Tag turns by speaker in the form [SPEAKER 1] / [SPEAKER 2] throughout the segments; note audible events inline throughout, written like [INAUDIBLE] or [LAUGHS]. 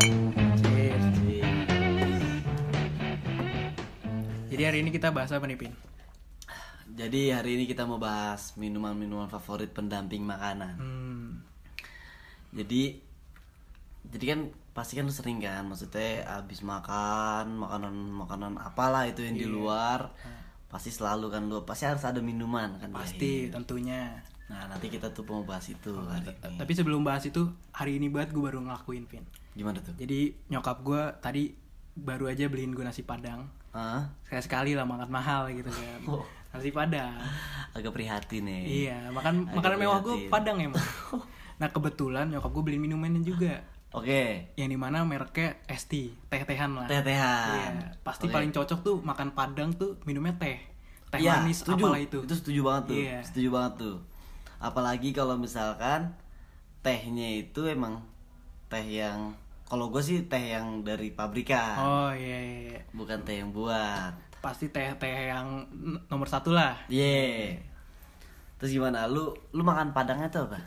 [SPEAKER 1] Cheers, cheers. Jadi hari ini kita bahas apa nih, Pin?
[SPEAKER 2] Jadi hari ini kita mau bahas minuman-minuman favorit pendamping makanan.
[SPEAKER 1] Hmm,
[SPEAKER 2] Jadi jadi kan pasti kan sering kan maksudnya abis makan makanan-makanan apalah itu yang
[SPEAKER 1] Iya.
[SPEAKER 2] di luar pasti selalu kan lu pasti harus ada minuman kan
[SPEAKER 1] Ah. pasti Oh,
[SPEAKER 2] biarin.
[SPEAKER 1] tentunya.
[SPEAKER 2] Nah, nanti kita tuh mau bahas itu hari
[SPEAKER 1] Ta-
[SPEAKER 2] ini.
[SPEAKER 1] Tapi sebelum bahas itu, hari ini banget gue baru ngelakuin, Pin.
[SPEAKER 2] Gimana tuh?
[SPEAKER 1] Jadi nyokap gue tadi baru aja beliin gue nasi padang.
[SPEAKER 2] Hah?
[SPEAKER 1] Sekali-sekali lah makan mahal gitu kan. Nasi padang.
[SPEAKER 2] Agak prihatin ya.
[SPEAKER 1] Iya, makan makanan mewah gue Padang [LAUGHS] emang. nah kebetulan nyokap gue beli minumannya juga,
[SPEAKER 2] Oke.
[SPEAKER 1] yang dimana mereknya es teh, teh-tehan lah.
[SPEAKER 2] Teh-tehan.
[SPEAKER 1] Iya, pasti
[SPEAKER 2] Oke.
[SPEAKER 1] paling cocok tuh makan Padang tuh minumnya teh, teh
[SPEAKER 2] Iya,
[SPEAKER 1] manis
[SPEAKER 2] setuju.
[SPEAKER 1] apalah itu.
[SPEAKER 2] Itu setuju banget tuh.
[SPEAKER 1] Iya.
[SPEAKER 2] Setuju banget tuh. Apalagi kalau misalkan tehnya itu emang teh yang kalau gue sih teh yang dari pabrikan,
[SPEAKER 1] Oh iya, iya, iya.
[SPEAKER 2] bukan teh yang buat.
[SPEAKER 1] pasti teh-teh yang n- nomor satu lah.
[SPEAKER 2] Ye. Terus gimana? Lu lu makan padangnya tuh apa?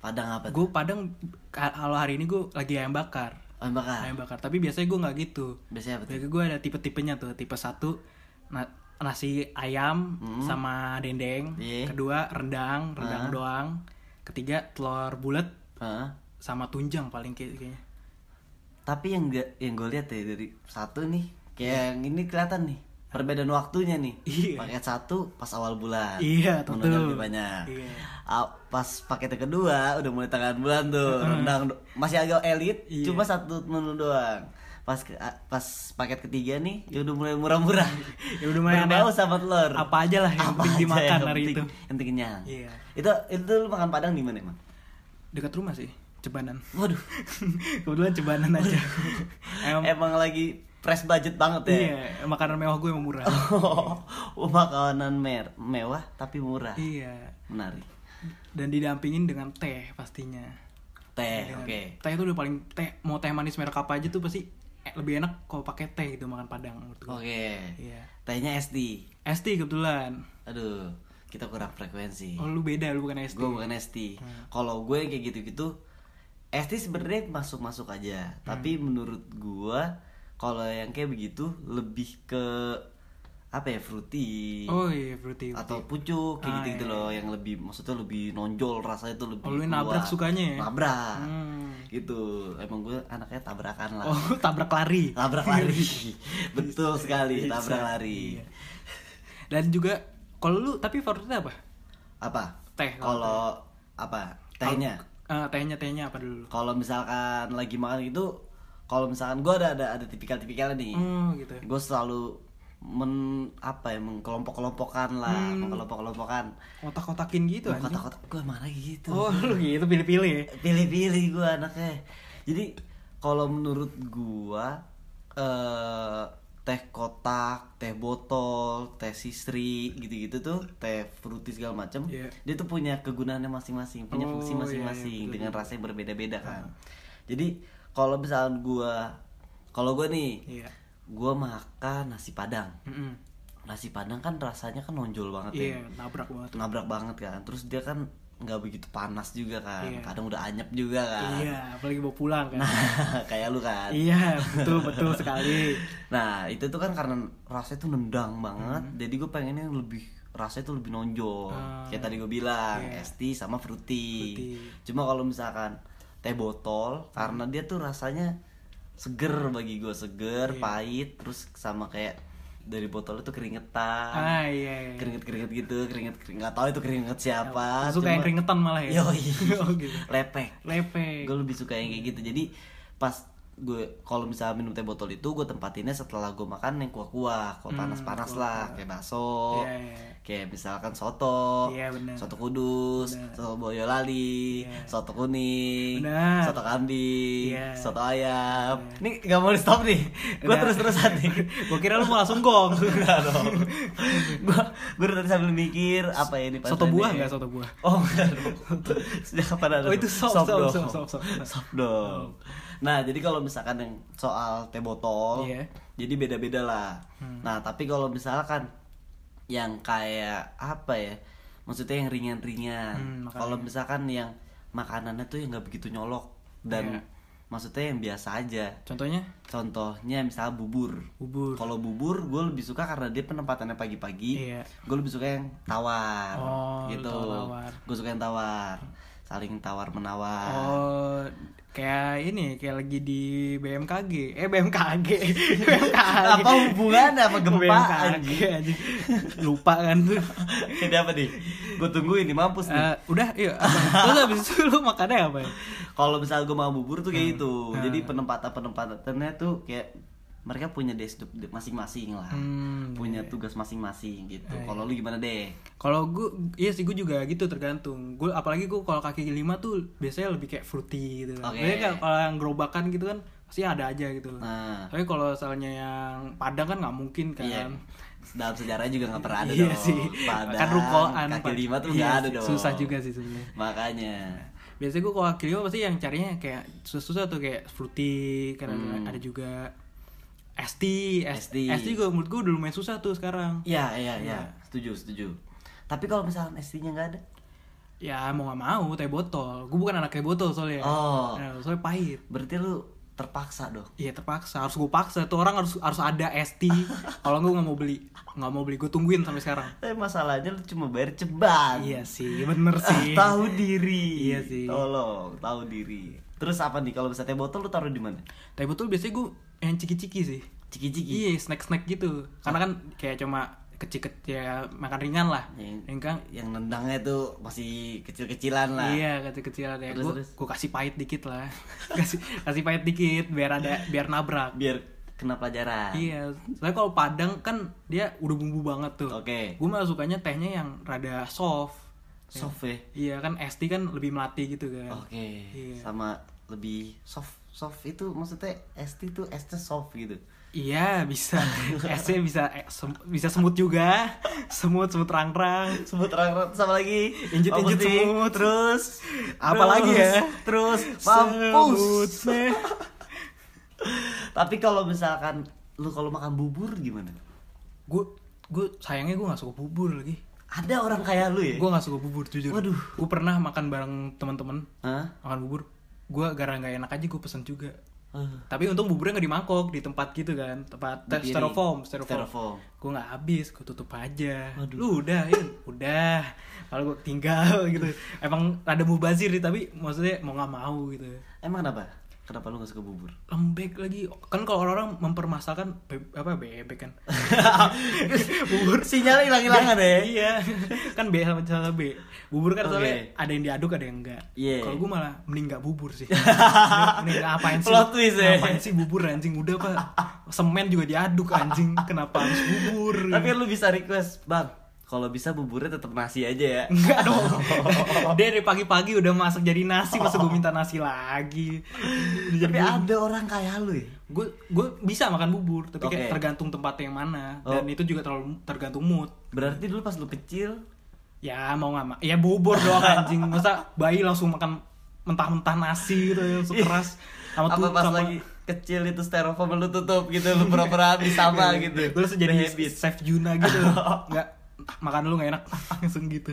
[SPEAKER 2] Padang apa? tuh?
[SPEAKER 1] Gue Padang ka- kalau hari ini gue lagi ayam bakar,
[SPEAKER 2] Ayam Oh, bakar.
[SPEAKER 1] ayam bakar. Tapi biasanya gue nggak gitu.
[SPEAKER 2] Biasanya apa tuh?
[SPEAKER 1] Jadi gue ada tipe-tipenya tuh. Tipe satu na- nasi ayam sama dendeng.
[SPEAKER 2] Hmm. Iya. Ah.
[SPEAKER 1] Kedua rendang, rendang doang. Ketiga telur bulat
[SPEAKER 2] Hah?
[SPEAKER 1] sama tunjang paling kayak- kayaknya.
[SPEAKER 2] Tapi yang ga- yang gue lihat ya dari satu nih, kayak yang ini kelihatan nih perbedaan waktunya nih.
[SPEAKER 1] Iya.
[SPEAKER 2] Paket satu pas awal bulan.
[SPEAKER 1] Iya, tentu.
[SPEAKER 2] Menunya Ah, lebih banyak.
[SPEAKER 1] Iya.
[SPEAKER 2] A- Pas paket yang kedua udah mulai tengah bulan tuh rendang do- masih agak elit,
[SPEAKER 1] Iya.
[SPEAKER 2] cuma satu menu doang. Pas ke- a- pas paket ketiga nih ya udah mulai murah-murah.
[SPEAKER 1] [LAUGHS] Ya udah lumayan
[SPEAKER 2] Berbau
[SPEAKER 1] ya.
[SPEAKER 2] sama telur.
[SPEAKER 1] Apa aja lah yang
[SPEAKER 2] Apa
[SPEAKER 1] penting
[SPEAKER 2] aja
[SPEAKER 1] dimakan
[SPEAKER 2] yang
[SPEAKER 1] hari
[SPEAKER 2] penting-
[SPEAKER 1] itu.
[SPEAKER 2] Yang penting kenyang.
[SPEAKER 1] Iya.
[SPEAKER 2] Itu itu lu makan padang di mana emang?
[SPEAKER 1] Dekat rumah sih, Cebanan. [LAUGHS]
[SPEAKER 2] Waduh.
[SPEAKER 1] Kebetulan Cebanan aja.
[SPEAKER 2] [LAUGHS]
[SPEAKER 1] Emang-
[SPEAKER 2] Emang lagi press budget banget ya.
[SPEAKER 1] iya, makanan mewah gue emang
[SPEAKER 2] [LAUGHS]
[SPEAKER 1] murah.
[SPEAKER 2] Oh, [LAUGHS] makanan mer mewah tapi murah.
[SPEAKER 1] iya.
[SPEAKER 2] Menarik.
[SPEAKER 1] Dan didampingin dengan teh pastinya.
[SPEAKER 2] Teh,
[SPEAKER 1] Dengan-
[SPEAKER 2] oke.
[SPEAKER 1] Teh itu udah paling teh mau teh manis merek apa aja tuh pasti eh, lebih enak kalau pakai teh gitu makan Padang menurut gue.
[SPEAKER 2] Oke.
[SPEAKER 1] Iya.
[SPEAKER 2] Tehnya SD.
[SPEAKER 1] ST kebetulan.
[SPEAKER 2] Aduh, kita kurang frekuensi.
[SPEAKER 1] Oh Hmm. lu beda lu bukan ST.
[SPEAKER 2] Gue bukan SD. Kalau gue kayak gitu-gitu SD sebenarnya masuk-masuk aja. Tapi
[SPEAKER 1] Hmm.
[SPEAKER 2] menurut gue kalau yang kayak begitu lebih ke apa ya fruity
[SPEAKER 1] Oh iya fruity.
[SPEAKER 2] atau pucuk kayak
[SPEAKER 1] Ah,
[SPEAKER 2] gitu-gitu loh yang lebih maksudnya lebih nonjol rasanya tuh lebih
[SPEAKER 1] Oh, lu yang
[SPEAKER 2] keluar.
[SPEAKER 1] nabrak sukanya ya?
[SPEAKER 2] nabrak
[SPEAKER 1] Hmm.
[SPEAKER 2] gitu emang gue anaknya tabrakan
[SPEAKER 1] [LAUGHS]
[SPEAKER 2] lah
[SPEAKER 1] Oh Iya, tabrak lari.
[SPEAKER 2] tabrak
[SPEAKER 1] [LAUGHS]
[SPEAKER 2] lari betul sekali
[SPEAKER 1] iya,
[SPEAKER 2] tabrak lari
[SPEAKER 1] Dan juga kalau lu tapi favoritnya apa?
[SPEAKER 2] apa
[SPEAKER 1] Teh, kalau
[SPEAKER 2] kalau apa tehnya
[SPEAKER 1] Eh, tehnya tehnya apa dulu?
[SPEAKER 2] kalau misalkan lagi makan gitu kalau misalkan gue ada ada ada tipikal-tipikalnya nih
[SPEAKER 1] Oh gitu.
[SPEAKER 2] gue selalu men apa ya mengkelompok-kelompokan lah mengkelompok-kelompokan
[SPEAKER 1] Kotak-kotakin gitu Hmm. anjing.
[SPEAKER 2] kotak-kotak gue mana gitu
[SPEAKER 1] Oh [LAUGHS] lu gitu pilih-pilih. ya?
[SPEAKER 2] pilih-pilih gue anaknya jadi kalau menurut gua eh teh kotak teh botol teh sisri gitu-gitu tuh teh fruity segala macem
[SPEAKER 1] Iya.
[SPEAKER 2] dia tuh punya kegunaannya masing-masing punya
[SPEAKER 1] Oh,
[SPEAKER 2] fungsi
[SPEAKER 1] iya, iya,
[SPEAKER 2] masing-masing
[SPEAKER 1] betul, Ah.
[SPEAKER 2] dengan rasa yang berbeda-beda kan jadi kalau misalkan gua kalau gua nih
[SPEAKER 1] Iya.
[SPEAKER 2] gua makan nasi padang
[SPEAKER 1] Mm-mm.
[SPEAKER 2] nasi padang kan rasanya kan nonjol banget ya
[SPEAKER 1] Iya nabrak banget.
[SPEAKER 2] nabrak banget kan terus dia kan nggak begitu panas juga kan
[SPEAKER 1] Iya.
[SPEAKER 2] kadang udah anyep juga kan
[SPEAKER 1] Iya apalagi bawa pulang kan.
[SPEAKER 2] nah [LAUGHS] kayak lu kan
[SPEAKER 1] Iya betul betul sekali.
[SPEAKER 2] nah itu tuh kan karena rasanya tuh nendang banget jadi gue pengennya yang lebih rasanya tuh lebih nonjol
[SPEAKER 1] Hmm. Ah.
[SPEAKER 2] kayak tadi gue bilang
[SPEAKER 1] Iya.
[SPEAKER 2] es tea sama fruity,
[SPEAKER 1] Fruity.
[SPEAKER 2] cuma kalau misalkan teh botol karena dia tuh rasanya seger bagi gue seger
[SPEAKER 1] Iya.
[SPEAKER 2] pahit terus sama kayak dari botolnya tuh Nah, keringetan
[SPEAKER 1] Ah iya. iya.
[SPEAKER 2] keringet-keringet gitu keringet keringet nggak tahu itu keringet siapa
[SPEAKER 1] Suka yang
[SPEAKER 2] cuma-
[SPEAKER 1] keringetan malah ya.
[SPEAKER 2] Yoi.
[SPEAKER 1] [LAUGHS] oh gitu.
[SPEAKER 2] lepek
[SPEAKER 1] Lepek.
[SPEAKER 2] gue lebih suka yang kayak gitu jadi pas gue kalau misalnya minum teh botol itu gue tempatinnya setelah gue makan yang kuah-kuah kalau panas-panas lah kayak bakso
[SPEAKER 1] Hmm, Iya, iya.
[SPEAKER 2] kayak misalkan soto
[SPEAKER 1] Iya, benar.
[SPEAKER 2] soto kudus soto boyolali
[SPEAKER 1] Iya.
[SPEAKER 2] soto kuning
[SPEAKER 1] Benar.
[SPEAKER 2] soto kambing
[SPEAKER 1] Iya.
[SPEAKER 2] soto ayam ini nggak mau di stop nih gue
[SPEAKER 1] Udah.
[SPEAKER 2] terus-terusan
[SPEAKER 1] [LAUGHS]
[SPEAKER 2] nih
[SPEAKER 1] Gua kira lu mau langsung gong.
[SPEAKER 2] gue gue tadi sambil mikir apa ya [LAUGHS] ini
[SPEAKER 1] soto
[SPEAKER 2] pasangannya.
[SPEAKER 1] buah nggak soto buah?
[SPEAKER 2] Oh enggak dong. Sejak kapan ada?
[SPEAKER 1] Oh, itu sop,
[SPEAKER 2] dong?
[SPEAKER 1] sop, sop, sop, sop.
[SPEAKER 2] Sop dong. Nah, jadi kalau misalkan yang soal teh botol,
[SPEAKER 1] Iya. Hmm.
[SPEAKER 2] jadi beda-beda lah. Nah, tapi kalau misalkan yang kayak apa ya? Maksudnya yang ringan-ringan.
[SPEAKER 1] Hmm, makanya.
[SPEAKER 2] kalau misalkan yang makanannya tuh yang nggak begitu nyolok
[SPEAKER 1] Iya.
[SPEAKER 2] dan maksudnya yang biasa aja.
[SPEAKER 1] Contohnya
[SPEAKER 2] Contohnya misalnya bubur.
[SPEAKER 1] bubur.
[SPEAKER 2] Kalau bubur gue lebih suka karena dia penempatannya pagi-pagi.
[SPEAKER 1] Iya.
[SPEAKER 2] Gue lebih suka yang tawar
[SPEAKER 1] Oh, lu
[SPEAKER 2] gitu.
[SPEAKER 1] tawar-tawar.
[SPEAKER 2] Gue suka yang tawar. Saling tawar menawar.
[SPEAKER 1] Oh, kayak ini kayak lagi di BMKG. Eh [LAUGHS] BMKG. BMKG.
[SPEAKER 2] [LAUGHS] Apa hubungannya sama gempa
[SPEAKER 1] BMKG,
[SPEAKER 2] anjing?
[SPEAKER 1] anjing. Lupa kan
[SPEAKER 2] [LAUGHS]
[SPEAKER 1] tuh.
[SPEAKER 2] Ini apa nih? Gue tungguin nih mampus nih.
[SPEAKER 1] Eh, udah, yuk. apa? Terus habis itu lu makannya apa? ya?
[SPEAKER 2] Kalau misalnya gue mau bubur tuh kayak gitu.
[SPEAKER 1] Hmm.
[SPEAKER 2] Jadi penempatan-penempatannya tuh kayak mereka punya desktop masing-masing lah.
[SPEAKER 1] Hmm,
[SPEAKER 2] punya tugas masing-masing gitu.
[SPEAKER 1] Iya,
[SPEAKER 2] Kalau lu gimana deh?
[SPEAKER 1] Kalau gue, iya sih gue juga gitu tergantung. Gue apalagi gue kalau kaki lima tuh biasanya lebih kayak fruity gitu. Kan.
[SPEAKER 2] Oke.
[SPEAKER 1] Biasanya kayak kalau yang gerobakan gitu kan pasti ada aja gitu.
[SPEAKER 2] Nah,
[SPEAKER 1] Tapi kalau misalnya yang padang kan nggak mungkin kan.
[SPEAKER 2] Iya. Dalam sejarah juga nggak pernah ada
[SPEAKER 1] iya
[SPEAKER 2] dong.
[SPEAKER 1] sih.
[SPEAKER 2] Padahal
[SPEAKER 1] kan rukoan.
[SPEAKER 2] Kaki
[SPEAKER 1] Pak.
[SPEAKER 2] lima tuh
[SPEAKER 1] Iya
[SPEAKER 2] nggak ada
[SPEAKER 1] sih,
[SPEAKER 2] dong.
[SPEAKER 1] Susah juga sih sebenarnya.
[SPEAKER 2] Makanya.
[SPEAKER 1] Biasanya gue kalau kaki lima pasti yang carinya kayak susah-susah tuh kayak fruity kan ada-
[SPEAKER 2] Hmm.
[SPEAKER 1] ada juga ST, ST,
[SPEAKER 2] ST.
[SPEAKER 1] ST juga menurut gue udah lumayan susah tuh sekarang.
[SPEAKER 2] Iya iya iya. Setuju setuju. Tapi kalau misalkan SD-nya nggak ada,
[SPEAKER 1] Ya mau gak mau teh botol. Gue bukan anak teh botol soalnya.
[SPEAKER 2] Oh.
[SPEAKER 1] Nah, soalnya pahit.
[SPEAKER 2] berarti lu terpaksa dong.
[SPEAKER 1] Iya terpaksa harus gue paksa tuh orang harus harus ada
[SPEAKER 2] [LAUGHS]
[SPEAKER 1] ST. Kalau gue nggak mau beli, nggak mau beli gue tungguin sampai sekarang.
[SPEAKER 2] Tapi masalahnya lu cuma bayar ceban.
[SPEAKER 1] Iya sih, bener sih.
[SPEAKER 2] Ah, [LAUGHS] tahu diri.
[SPEAKER 1] Iya sih.
[SPEAKER 2] Tolong, tahu diri. Terus apa nih kalau misalnya teh botol lu taruh di mana?
[SPEAKER 1] Tapi betul biasanya gue yang ciki-ciki sih.
[SPEAKER 2] Ciki-ciki.
[SPEAKER 1] Iya, snack-snack gitu. Karena kan kayak cuma kecil-kecil ya, makan ringan lah.
[SPEAKER 2] Yang-
[SPEAKER 1] Ringan.
[SPEAKER 2] Yang nendangnya tuh masih kecil-kecilan lah.
[SPEAKER 1] Iya, kecil-kecilan ya.
[SPEAKER 2] Terus,
[SPEAKER 1] Gue
[SPEAKER 2] terus.
[SPEAKER 1] gue kasih pahit dikit lah. [LAUGHS] kasih kasih pahit dikit biar
[SPEAKER 2] [LAUGHS]
[SPEAKER 1] ada biar nabrak.
[SPEAKER 2] Biar kena pelajaran.
[SPEAKER 1] Iya, soalnya kalau Padang kan dia udah bumbu banget tuh.
[SPEAKER 2] Oke.
[SPEAKER 1] Gue malah sukanya tehnya yang rada soft.
[SPEAKER 2] Soft ya.
[SPEAKER 1] Iya kan ST kan lebih melati gitu kan.
[SPEAKER 2] Oh, Oke.
[SPEAKER 1] Iya.
[SPEAKER 2] Sama lebih soft soft itu maksudnya ST tuh S nya soft gitu.
[SPEAKER 1] Iya bisa. [LAUGHS] ST bisa eh, sem- bisa semut juga. Semut semut rang-rang.
[SPEAKER 2] Semut rang sama lagi
[SPEAKER 1] Injit,
[SPEAKER 2] Apa
[SPEAKER 1] injit
[SPEAKER 2] sih?
[SPEAKER 1] semut.
[SPEAKER 2] terus apa
[SPEAKER 1] Terus.
[SPEAKER 2] lagi ya? Terus
[SPEAKER 1] Semut,
[SPEAKER 2] mampus.
[SPEAKER 1] meh.
[SPEAKER 2] Tapi kalau misalkan lu kalau makan bubur gimana?
[SPEAKER 1] Gue gue sayangnya gue nggak suka bubur lagi.
[SPEAKER 2] Ada orang kayak lu ya?
[SPEAKER 1] Gue nggak suka bubur jujur.
[SPEAKER 2] Waduh.
[SPEAKER 1] Gue pernah makan bareng teman-teman
[SPEAKER 2] Hah?
[SPEAKER 1] makan bubur. Gue gara nggak enak aja gue pesen juga.
[SPEAKER 2] Eh,
[SPEAKER 1] Tapi untung buburnya nggak di mangkok, di tempat gitu kan, tempat
[SPEAKER 2] Di piring.
[SPEAKER 1] styrofoam, styrofoam.
[SPEAKER 2] Styrofoam.
[SPEAKER 1] Gue nggak habis, gue tutup aja.
[SPEAKER 2] Waduh.
[SPEAKER 1] Lu udah, ya, udah. Kalau gue tinggal [LAUGHS] gitu. Emang ada mubazir sih, tapi maksudnya mau nggak mau gitu.
[SPEAKER 2] Emang kenapa? Kenapa lu gak suka bubur?
[SPEAKER 1] Lembek lagi, kan kalau orang-orang mempermasalahkan be- apa bebek kan,
[SPEAKER 2] [LAUGHS]
[SPEAKER 1] bubur
[SPEAKER 2] Sinyalnya hilang-hilangan ya?
[SPEAKER 1] Iya, [LAUGHS] kan B sama sama B. Bubur kan
[SPEAKER 2] Oke.
[SPEAKER 1] soalnya ada yang diaduk ada yang enggak.
[SPEAKER 2] Iya.
[SPEAKER 1] Kalau gue malah mending nggak bubur
[SPEAKER 2] [LAUGHS]
[SPEAKER 1] sih. Mending- mending apain sih?
[SPEAKER 2] Plot twist ya.
[SPEAKER 1] Ngapain sih bubur anjing udah pak? Semen juga diaduk anjing. Kenapa harus bubur?
[SPEAKER 2] Tapi lu bisa request, Bang. Kalau bisa buburnya tetap nasi aja ya.
[SPEAKER 1] Enggak dong. [LAUGHS] Dia dari pagi-pagi udah masak jadi nasi, masa gue minta nasi lagi. Iya,
[SPEAKER 2] Tapi ada orang kayak lu ya?
[SPEAKER 1] Gue gue bisa makan bubur, tapi kayak
[SPEAKER 2] Oke.
[SPEAKER 1] tergantung tempatnya yang mana
[SPEAKER 2] Oh.
[SPEAKER 1] dan itu juga terlalu tergantung mood.
[SPEAKER 2] Berarti dulu pas lu kecil
[SPEAKER 1] Ya mau nggak mau, ya bubur doang anjing. Masa bayi langsung makan mentah-mentah nasi gitu ya, sekeras
[SPEAKER 2] Iya. apa
[SPEAKER 1] tuh-
[SPEAKER 2] pas lagi kecil itu styrofoam lu tutup gitu
[SPEAKER 1] [LAUGHS]
[SPEAKER 2] lu pura-pura habis sama gitu
[SPEAKER 1] Gue langsung Iya. jadi
[SPEAKER 2] Udah habis.
[SPEAKER 1] chef Juna gitu.
[SPEAKER 2] [LAUGHS]
[SPEAKER 1] Nggak makan dulu nggak enak [LAUGHS] langsung gitu.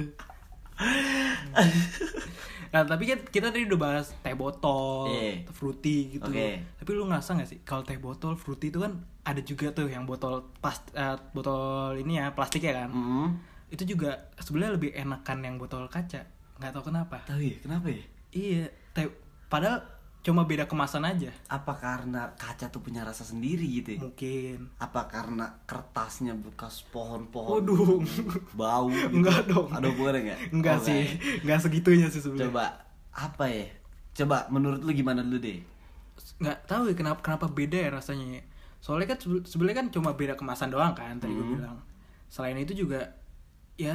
[SPEAKER 1] Nah tapi kan kita tadi udah bahas teh botol,
[SPEAKER 2] Iya.
[SPEAKER 1] fruity gitu.
[SPEAKER 2] Oke.
[SPEAKER 1] Tapi lu ngerasa nggak sih kalau teh botol, fruity itu kan ada juga tuh yang botol pas eh, botol ini ya plastik ya kan.
[SPEAKER 2] Mm.
[SPEAKER 1] Itu juga sebenarnya lebih enakan yang botol kaca. Nggak tahu kenapa.
[SPEAKER 2] Tahu ya kenapa ya?
[SPEAKER 1] Iya, te- padahal cuma beda kemasan aja.
[SPEAKER 2] Apa karena kaca tuh punya rasa sendiri gitu ya?
[SPEAKER 1] Mungkin.
[SPEAKER 2] Apa karena kertasnya bekas pohon-pohon? [LAUGHS]
[SPEAKER 1] Waduh,
[SPEAKER 2] Bau gitu.
[SPEAKER 1] Enggak dong.
[SPEAKER 2] Oh. Ada hubungannya enggak?
[SPEAKER 1] enggak sih, enggak segitunya sih sebenarnya.
[SPEAKER 2] Coba apa ya? Coba menurut lu gimana dulu deh?
[SPEAKER 1] Enggak tahu ya kenapa kenapa beda ya rasanya. ya. Soalnya kan sebe- sebenarnya kan cuma beda kemasan doang kan tadi
[SPEAKER 2] Hmm.
[SPEAKER 1] gue bilang. Selain itu juga ya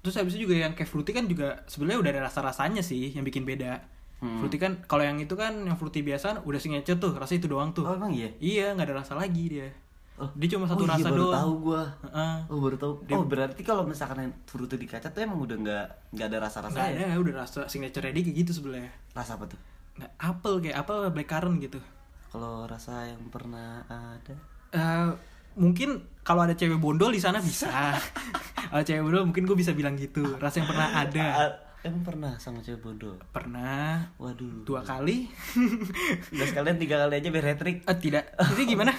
[SPEAKER 1] terus habis itu juga yang kayak fruity kan juga sebenarnya udah ada rasa-rasanya sih yang bikin beda.
[SPEAKER 2] Hmm.
[SPEAKER 1] Fruity kan kalau yang itu kan yang fruity biasa kan udah signature tuh, rasanya itu doang tuh.
[SPEAKER 2] Oh emang iya?
[SPEAKER 1] Iya, nggak ada rasa lagi dia.
[SPEAKER 2] Oh.
[SPEAKER 1] Dia cuma satu
[SPEAKER 2] oh, iya,
[SPEAKER 1] rasa
[SPEAKER 2] baru
[SPEAKER 1] doang.
[SPEAKER 2] tahu gua.
[SPEAKER 1] Heeh.
[SPEAKER 2] Oh baru tahu. Oh berarti kalau misalkan yang fruity di kaca tuh emang udah nggak nggak ada rasa
[SPEAKER 1] Nggak
[SPEAKER 2] rasanya.
[SPEAKER 1] ada, udah rasa signature dia kayak gitu sebelah.
[SPEAKER 2] Rasa apa tuh?
[SPEAKER 1] nggak apel kayak apel blackcurrant gitu
[SPEAKER 2] Kalau rasa yang pernah ada
[SPEAKER 1] Eh, mungkin kalau ada cewek bondol di sana bisa [LAUGHS] kalau cewek bondol mungkin gue bisa bilang gitu rasa yang pernah ada
[SPEAKER 2] Ah, Emang pernah sama cewek bodoh?
[SPEAKER 1] pernah
[SPEAKER 2] Waduh
[SPEAKER 1] dua kali
[SPEAKER 2] Udah sekalian tiga kali aja biar hat trick.
[SPEAKER 1] [LAUGHS] Eh, tidak jadi [LAUGHS] gimana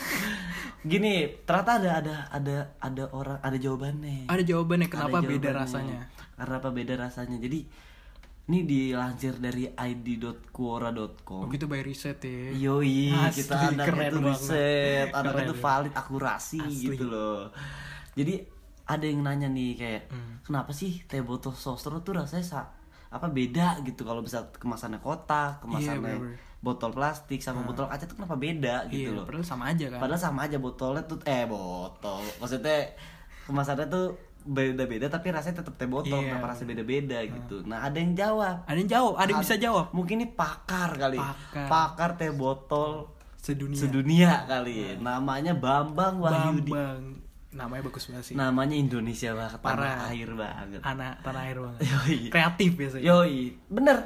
[SPEAKER 2] Gini, ternyata ada ada ada ada orang ada jawabannya.
[SPEAKER 1] ada jawabannya kenapa
[SPEAKER 2] Ada
[SPEAKER 1] beda
[SPEAKER 2] jawabannya.
[SPEAKER 1] rasanya
[SPEAKER 2] Karena apa beda rasanya? Jadi ini dilansir dari
[SPEAKER 1] oh,
[SPEAKER 2] id.quora.com.
[SPEAKER 1] gitu by riset ya
[SPEAKER 2] Yoi,
[SPEAKER 1] Asli,
[SPEAKER 2] kita anaknya
[SPEAKER 1] keren
[SPEAKER 2] itu
[SPEAKER 1] banget.
[SPEAKER 2] riset, anaknya
[SPEAKER 1] Keren
[SPEAKER 2] itu
[SPEAKER 1] ya.
[SPEAKER 2] valid, akurasi gitu loh. Jadi ada yang nanya nih kayak
[SPEAKER 1] Hmm.
[SPEAKER 2] kenapa sih teh botol sosro tuh rasanya sa- apa beda gitu kalau bisa kemasannya kotak, kemasannya
[SPEAKER 1] Iya, bener-bener. Ah.
[SPEAKER 2] botol plastik sama botol kaca tuh kenapa beda gitu
[SPEAKER 1] Iya,
[SPEAKER 2] loh.
[SPEAKER 1] padahal sama aja kan
[SPEAKER 2] Padahal sama aja botolnya tuh eh botol. Maksudnya kemasannya tuh beda-beda tapi rasanya tetap teh botol,
[SPEAKER 1] Iya. Ah.
[SPEAKER 2] kenapa rasanya beda-beda gitu. Nah, ada yang jawab.
[SPEAKER 1] ada yang jawab ada yang bisa jawab
[SPEAKER 2] Mungkin ini pakar kali.
[SPEAKER 1] Pakar.
[SPEAKER 2] teh botol
[SPEAKER 1] sedunia
[SPEAKER 2] sedunia kali. ya. Namanya Bambang Wahyudi.
[SPEAKER 1] Iya. Bambang namanya bagus banget sih
[SPEAKER 2] Namanya Indonesia banget, tanah
[SPEAKER 1] Parah.
[SPEAKER 2] air banget.
[SPEAKER 1] anak tanah air banget
[SPEAKER 2] Yoi.
[SPEAKER 1] kreatif biasanya
[SPEAKER 2] Yoi, bener.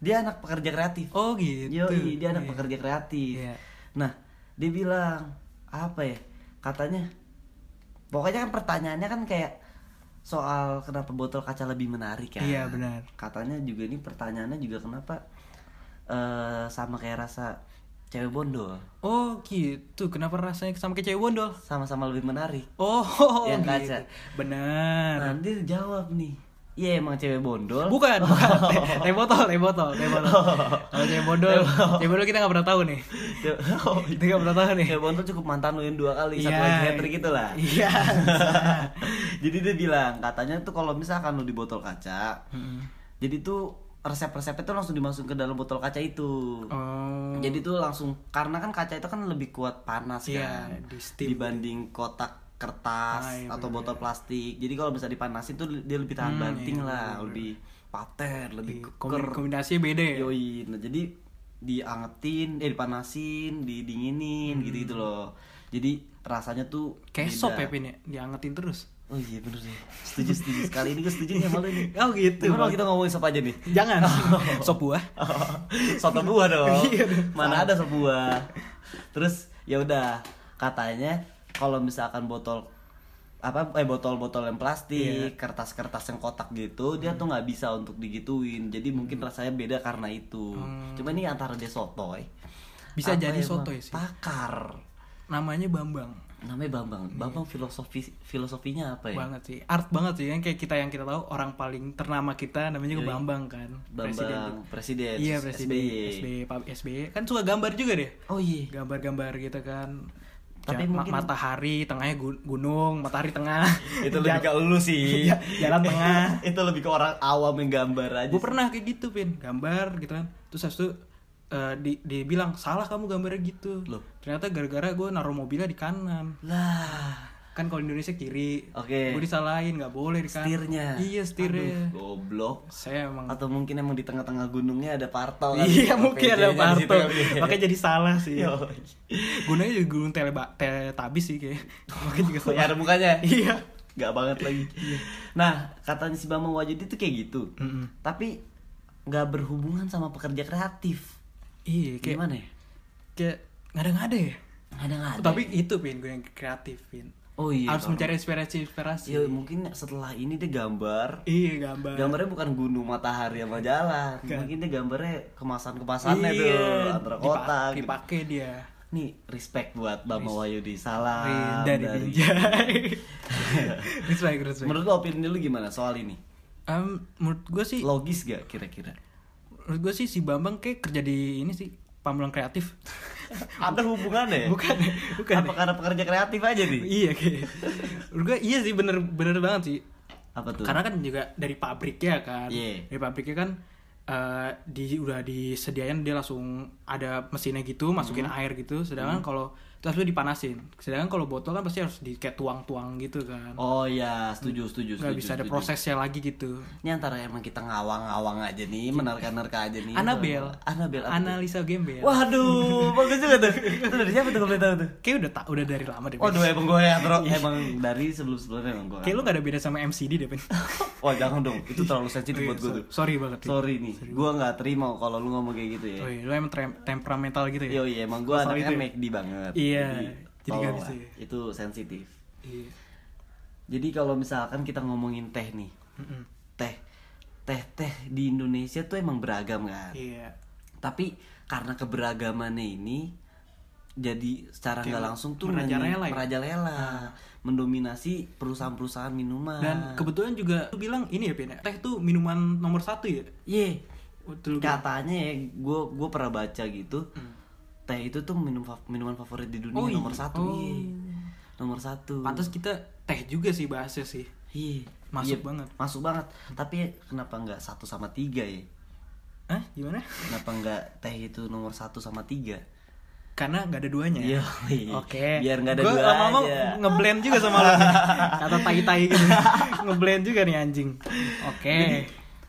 [SPEAKER 2] Dia anak pekerja kreatif.
[SPEAKER 1] oh gitu
[SPEAKER 2] Yoi, dia anak
[SPEAKER 1] Iya.
[SPEAKER 2] pekerja kreatif.
[SPEAKER 1] Iya.
[SPEAKER 2] Nah, dia bilang apa ya? Katanya pokoknya kan pertanyaannya kan kayak soal kenapa botol kaca lebih menarik ya.
[SPEAKER 1] Iya, benar.
[SPEAKER 2] Katanya juga ini pertanyaannya juga kenapa eh sama kayak rasa cewek bondol
[SPEAKER 1] oh gitu kenapa rasanya sama kayak cewek bondol
[SPEAKER 2] sama-sama lebih menarik.
[SPEAKER 1] oh, gitu.
[SPEAKER 2] Yang Ya, kaca.
[SPEAKER 1] benar
[SPEAKER 2] Nah, dia jawab nih. Iya emang cewek bondol.
[SPEAKER 1] Bukan, bukan. [LAUGHS] Teh- Teh botol, teh botol, teh botol. Kalau teh bondol, teh bondol kita nggak pernah tahu nih.
[SPEAKER 2] Oh,
[SPEAKER 1] Kita nggak pernah tahu nih.
[SPEAKER 2] Cewek bondol cukup mantan lu yang dua kali, satu
[SPEAKER 1] Iya.
[SPEAKER 2] lagi hat-trick gitu lah.
[SPEAKER 1] Iya.
[SPEAKER 2] [LAUGHS] jadi dia bilang katanya tuh kalau misalkan lu di botol kaca, jadi tuh resep-resepnya tuh langsung dimasukin ke dalam botol kaca itu.
[SPEAKER 1] Oh,
[SPEAKER 2] Jadi tuh langsung karena kan kaca itu kan lebih kuat panas
[SPEAKER 1] Iya,
[SPEAKER 2] kan
[SPEAKER 1] di steam.
[SPEAKER 2] dibanding kotak kertas
[SPEAKER 1] Ah, iya,
[SPEAKER 2] atau
[SPEAKER 1] bener-bener.
[SPEAKER 2] botol plastik. Jadi kalau bisa dipanasin tuh dia lebih tahan
[SPEAKER 1] Hmm,
[SPEAKER 2] banting
[SPEAKER 1] iya,
[SPEAKER 2] lah,
[SPEAKER 1] bener-bener.
[SPEAKER 2] lebih pater, lebih keker.
[SPEAKER 1] kombi- kombinasinya beda ya.
[SPEAKER 2] Yoi, nah jadi diangetin, eh dipanasin, didinginin gitu-gitu loh. Jadi rasanya tuh
[SPEAKER 1] Kayak
[SPEAKER 2] beda.
[SPEAKER 1] sop Hmm. ya Pin ya, diangetin terus.
[SPEAKER 2] Oh iya bener deh. Setuju setuju sekali ini gue setuju nih sama
[SPEAKER 1] [LAUGHS]
[SPEAKER 2] lu nih.
[SPEAKER 1] Oh, gitu.
[SPEAKER 2] Gimana kalau kita ngomongin sop aja nih? [LAUGHS]
[SPEAKER 1] Jangan.
[SPEAKER 2] Oh.
[SPEAKER 1] sop buah.
[SPEAKER 2] Soto buah dong.
[SPEAKER 1] [LAUGHS] Iya dong.
[SPEAKER 2] Mana ada soto buah. Terus ya udah katanya kalau misalkan botol apa eh botol-botol yang
[SPEAKER 1] Iya.
[SPEAKER 2] plastik, kertas-kertas yang kotak gitu,
[SPEAKER 1] Hmm.
[SPEAKER 2] dia tuh nggak bisa untuk digituin. Jadi mungkin rasanya beda karena itu. Cuma ini antara dia sotoy.
[SPEAKER 1] Hmm. Bisa
[SPEAKER 2] apa
[SPEAKER 1] jadi
[SPEAKER 2] emang
[SPEAKER 1] sotoy sih.
[SPEAKER 2] Pakar.
[SPEAKER 1] Namanya Bambang.
[SPEAKER 2] Namanya Bambang.
[SPEAKER 1] Iya.
[SPEAKER 2] Bambang filosofi filosofinya apa ya?
[SPEAKER 1] Banget sih. Art banget sih yang kayak kita yang kita tahu orang paling ternama kita namanya juga
[SPEAKER 2] Yoi.
[SPEAKER 1] Bambang kan.
[SPEAKER 2] Bambang presiden.
[SPEAKER 1] Iya, presiden
[SPEAKER 2] SBY.
[SPEAKER 1] SBY, Pak SBY. Kan suka gambar juga deh.
[SPEAKER 2] Oh iya.
[SPEAKER 1] gambar-gambar gitu kan
[SPEAKER 2] Tapi
[SPEAKER 1] Ja- ma-
[SPEAKER 2] mungkin-
[SPEAKER 1] matahari tengahnya gu- gunung matahari tengah
[SPEAKER 2] [LAUGHS] itu lebih ke lu sih
[SPEAKER 1] Ja- jalan
[SPEAKER 2] [LAUGHS]
[SPEAKER 1] tengah.
[SPEAKER 2] itu lebih ke orang awam yang gambar aja
[SPEAKER 1] gue pernah kayak gitu pin gambar gitu kan terus habis itu eh, di dibilang salah kamu gambarnya gitu
[SPEAKER 2] Loh.
[SPEAKER 1] ternyata gara-gara gue naruh mobilnya di kanan
[SPEAKER 2] lah
[SPEAKER 1] kan kalau Indonesia kiri
[SPEAKER 2] Oke.
[SPEAKER 1] gue disalahin nggak boleh di kanan
[SPEAKER 2] stirnya
[SPEAKER 1] iya
[SPEAKER 2] Aduh,
[SPEAKER 1] setirnya
[SPEAKER 2] goblok
[SPEAKER 1] saya emang
[SPEAKER 2] atau mungkin emang di tengah-tengah gunungnya ada parto kan?
[SPEAKER 1] [LAUGHS] iya mungkin ada Parto
[SPEAKER 2] [LAUGHS] makanya
[SPEAKER 1] makanya jadi salah sih
[SPEAKER 2] Iya.
[SPEAKER 1] gunanya juga gunung teleba teletabis sih kayak makanya juga [LAUGHS] salah
[SPEAKER 2] Oh, gitu. ada mukanya
[SPEAKER 1] iya
[SPEAKER 2] nggak banget lagi nah katanya si Bambang Wahyudi itu kayak gitu
[SPEAKER 1] Mm-mm.
[SPEAKER 2] tapi nggak berhubungan sama pekerja kreatif
[SPEAKER 1] iya kayak
[SPEAKER 2] gimana ya
[SPEAKER 1] kayak ngada-ngada ya
[SPEAKER 2] nggak ada nggak ada
[SPEAKER 1] tapi itu pin gue yang kreatif pin
[SPEAKER 2] oh iya
[SPEAKER 1] harus
[SPEAKER 2] kalau-
[SPEAKER 1] mencari inspirasi inspirasi
[SPEAKER 2] Iya, mungkin setelah ini dia gambar
[SPEAKER 1] iya gambar
[SPEAKER 2] Gambarnya bukan gunung matahari sama jalan. Mungkin dia gambarnya kemasan-kemasannya
[SPEAKER 1] Iya,
[SPEAKER 2] tuh antara
[SPEAKER 1] dipa-
[SPEAKER 2] kotak. gitu.
[SPEAKER 1] dipakai dia
[SPEAKER 2] Nih, respect buat Bama Wahyudi. Salam
[SPEAKER 1] dari
[SPEAKER 2] [LAUGHS]
[SPEAKER 1] Binjai respect respect
[SPEAKER 2] Menurut lo opini lu gimana soal ini?
[SPEAKER 1] Em, menurut gue sih
[SPEAKER 2] Logis gak kira-kira?
[SPEAKER 1] menurut gue sih si Bambang kayak kerja di ini sih pamulang kreatif
[SPEAKER 2] Ada hubungannya ya?
[SPEAKER 1] [LAUGHS] Bukan, bukan.
[SPEAKER 2] Apa karena pekerja kreatif aja nih?
[SPEAKER 1] iya kayak menurut gue iya sih bener bener banget sih
[SPEAKER 2] Apa tuh?
[SPEAKER 1] karena kan juga dari pabriknya kan
[SPEAKER 2] Iya.
[SPEAKER 1] dari pabriknya kan eh,
[SPEAKER 2] Hmm.
[SPEAKER 1] di udah disediain dia langsung ada mesinnya gitu masukin air gitu sedangkan kalau itu terus lu dipanasin sedangkan kalau botol kan pasti harus di kayak tuang-tuang gitu kan
[SPEAKER 2] Oh ya, setuju setuju
[SPEAKER 1] nggak
[SPEAKER 2] setuju,
[SPEAKER 1] bisa ada
[SPEAKER 2] setuju.
[SPEAKER 1] prosesnya lagi gitu
[SPEAKER 2] Ini antara emang kita ngawang-ngawang aja nih, menerka-nerka aja nih.
[SPEAKER 1] Anabel
[SPEAKER 2] Anabel. apa tuh?
[SPEAKER 1] Analisa Gembel
[SPEAKER 2] Waduh, bagus juga tuh. Itu dari siapa tuh kalau tahu tuh?
[SPEAKER 1] kayak udah tak udah dari lama deh
[SPEAKER 2] Waduh,
[SPEAKER 1] Pin.
[SPEAKER 2] emang gue ya, bro. Emang dari sebelum-sebelumnya emang gue.
[SPEAKER 1] Iya. kayak lu gak ada beda sama MCD deh
[SPEAKER 2] [LAUGHS]
[SPEAKER 1] Pin.
[SPEAKER 2] Wah, jangan dong. Itu terlalu sensitif
[SPEAKER 1] Iya,
[SPEAKER 2] buat gue
[SPEAKER 1] so-
[SPEAKER 2] tuh.
[SPEAKER 1] sorry banget Pin.
[SPEAKER 2] Sorry nih, gue nggak terima kalau lu ngomong kayak gitu ya.
[SPEAKER 1] Oh iya, lu emang trem- temperamental gitu ya?
[SPEAKER 2] Yo iya, emang gue
[SPEAKER 1] Masalah
[SPEAKER 2] anaknya
[SPEAKER 1] itu ya?
[SPEAKER 2] McD banget.
[SPEAKER 1] Iya, jadi nggak
[SPEAKER 2] tolong
[SPEAKER 1] bisa
[SPEAKER 2] lah.
[SPEAKER 1] ya.
[SPEAKER 2] Itu sensitif.
[SPEAKER 1] Iya.
[SPEAKER 2] Jadi kalau misalkan kita ngomongin teh nih,
[SPEAKER 1] Mm-mm.
[SPEAKER 2] teh, teh, teh di Indonesia tuh emang beragam kan.
[SPEAKER 1] Iya.
[SPEAKER 2] Tapi karena keberagamannya ini jadi secara
[SPEAKER 1] Kayak
[SPEAKER 2] nggak langsung tuh
[SPEAKER 1] merajalela
[SPEAKER 2] menye-
[SPEAKER 1] ya?
[SPEAKER 2] merajalela, mendominasi perusahaan-perusahaan minuman.
[SPEAKER 1] Dan kebetulan juga lu bilang ini ya, Pin, ya, teh tuh minuman nomor satu ya?
[SPEAKER 2] Ye,
[SPEAKER 1] Betul.
[SPEAKER 2] katanya ya gue gue pernah baca gitu. Teh itu tuh minum fa- minuman favorit di dunia
[SPEAKER 1] Hmm. Oh, iya.
[SPEAKER 2] nomor satu.
[SPEAKER 1] Oh.
[SPEAKER 2] Ye. Nomor satu.
[SPEAKER 1] Pantas kita teh juga sih bahasnya sih.
[SPEAKER 2] Iya.
[SPEAKER 1] Masuk
[SPEAKER 2] Iya,
[SPEAKER 1] banget.
[SPEAKER 2] Masuk banget. Tapi kenapa nggak satu sama tiga ya?
[SPEAKER 1] Hah? Gimana?
[SPEAKER 2] Kenapa nggak teh itu nomor satu sama tiga?
[SPEAKER 1] Karena nggak ada duanya.
[SPEAKER 2] Iya.
[SPEAKER 1] Ya. Oke.
[SPEAKER 2] Biar nggak ada
[SPEAKER 1] Gua
[SPEAKER 2] dua
[SPEAKER 1] lama-lama
[SPEAKER 2] aja.
[SPEAKER 1] ngeblend juga sama lu.
[SPEAKER 2] [LAUGHS]
[SPEAKER 1] nih. Kata tai-tai gitu. ngeblend juga nih anjing. Oke.
[SPEAKER 2] Jadi,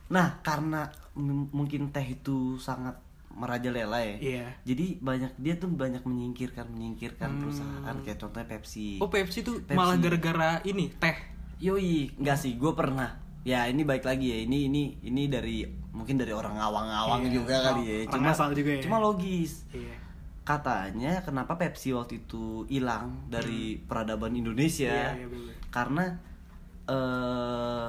[SPEAKER 2] nah karena m- mungkin teh itu sangat merajalela ya.
[SPEAKER 1] Iya.
[SPEAKER 2] Jadi banyak dia tuh banyak menyingkirkan menyingkirkan perusahaan kayak contohnya Pepsi.
[SPEAKER 1] Hmm. Oh, Pepsi tuh
[SPEAKER 2] Pepsi.
[SPEAKER 1] malah gara-gara ini teh.
[SPEAKER 2] Yoi, nggak sih, gue pernah. Ya ini baik lagi ya, ini ini ini dari mungkin dari orang ngawang-ngawang
[SPEAKER 1] Iya,
[SPEAKER 2] juga kali ya.
[SPEAKER 1] orang asal juga ya.
[SPEAKER 2] Cuma logis.
[SPEAKER 1] Iya.
[SPEAKER 2] Katanya kenapa Pepsi waktu itu hilang dari peradaban Indonesia?
[SPEAKER 1] Hmm. Iya, iya, bener.
[SPEAKER 2] Karena eh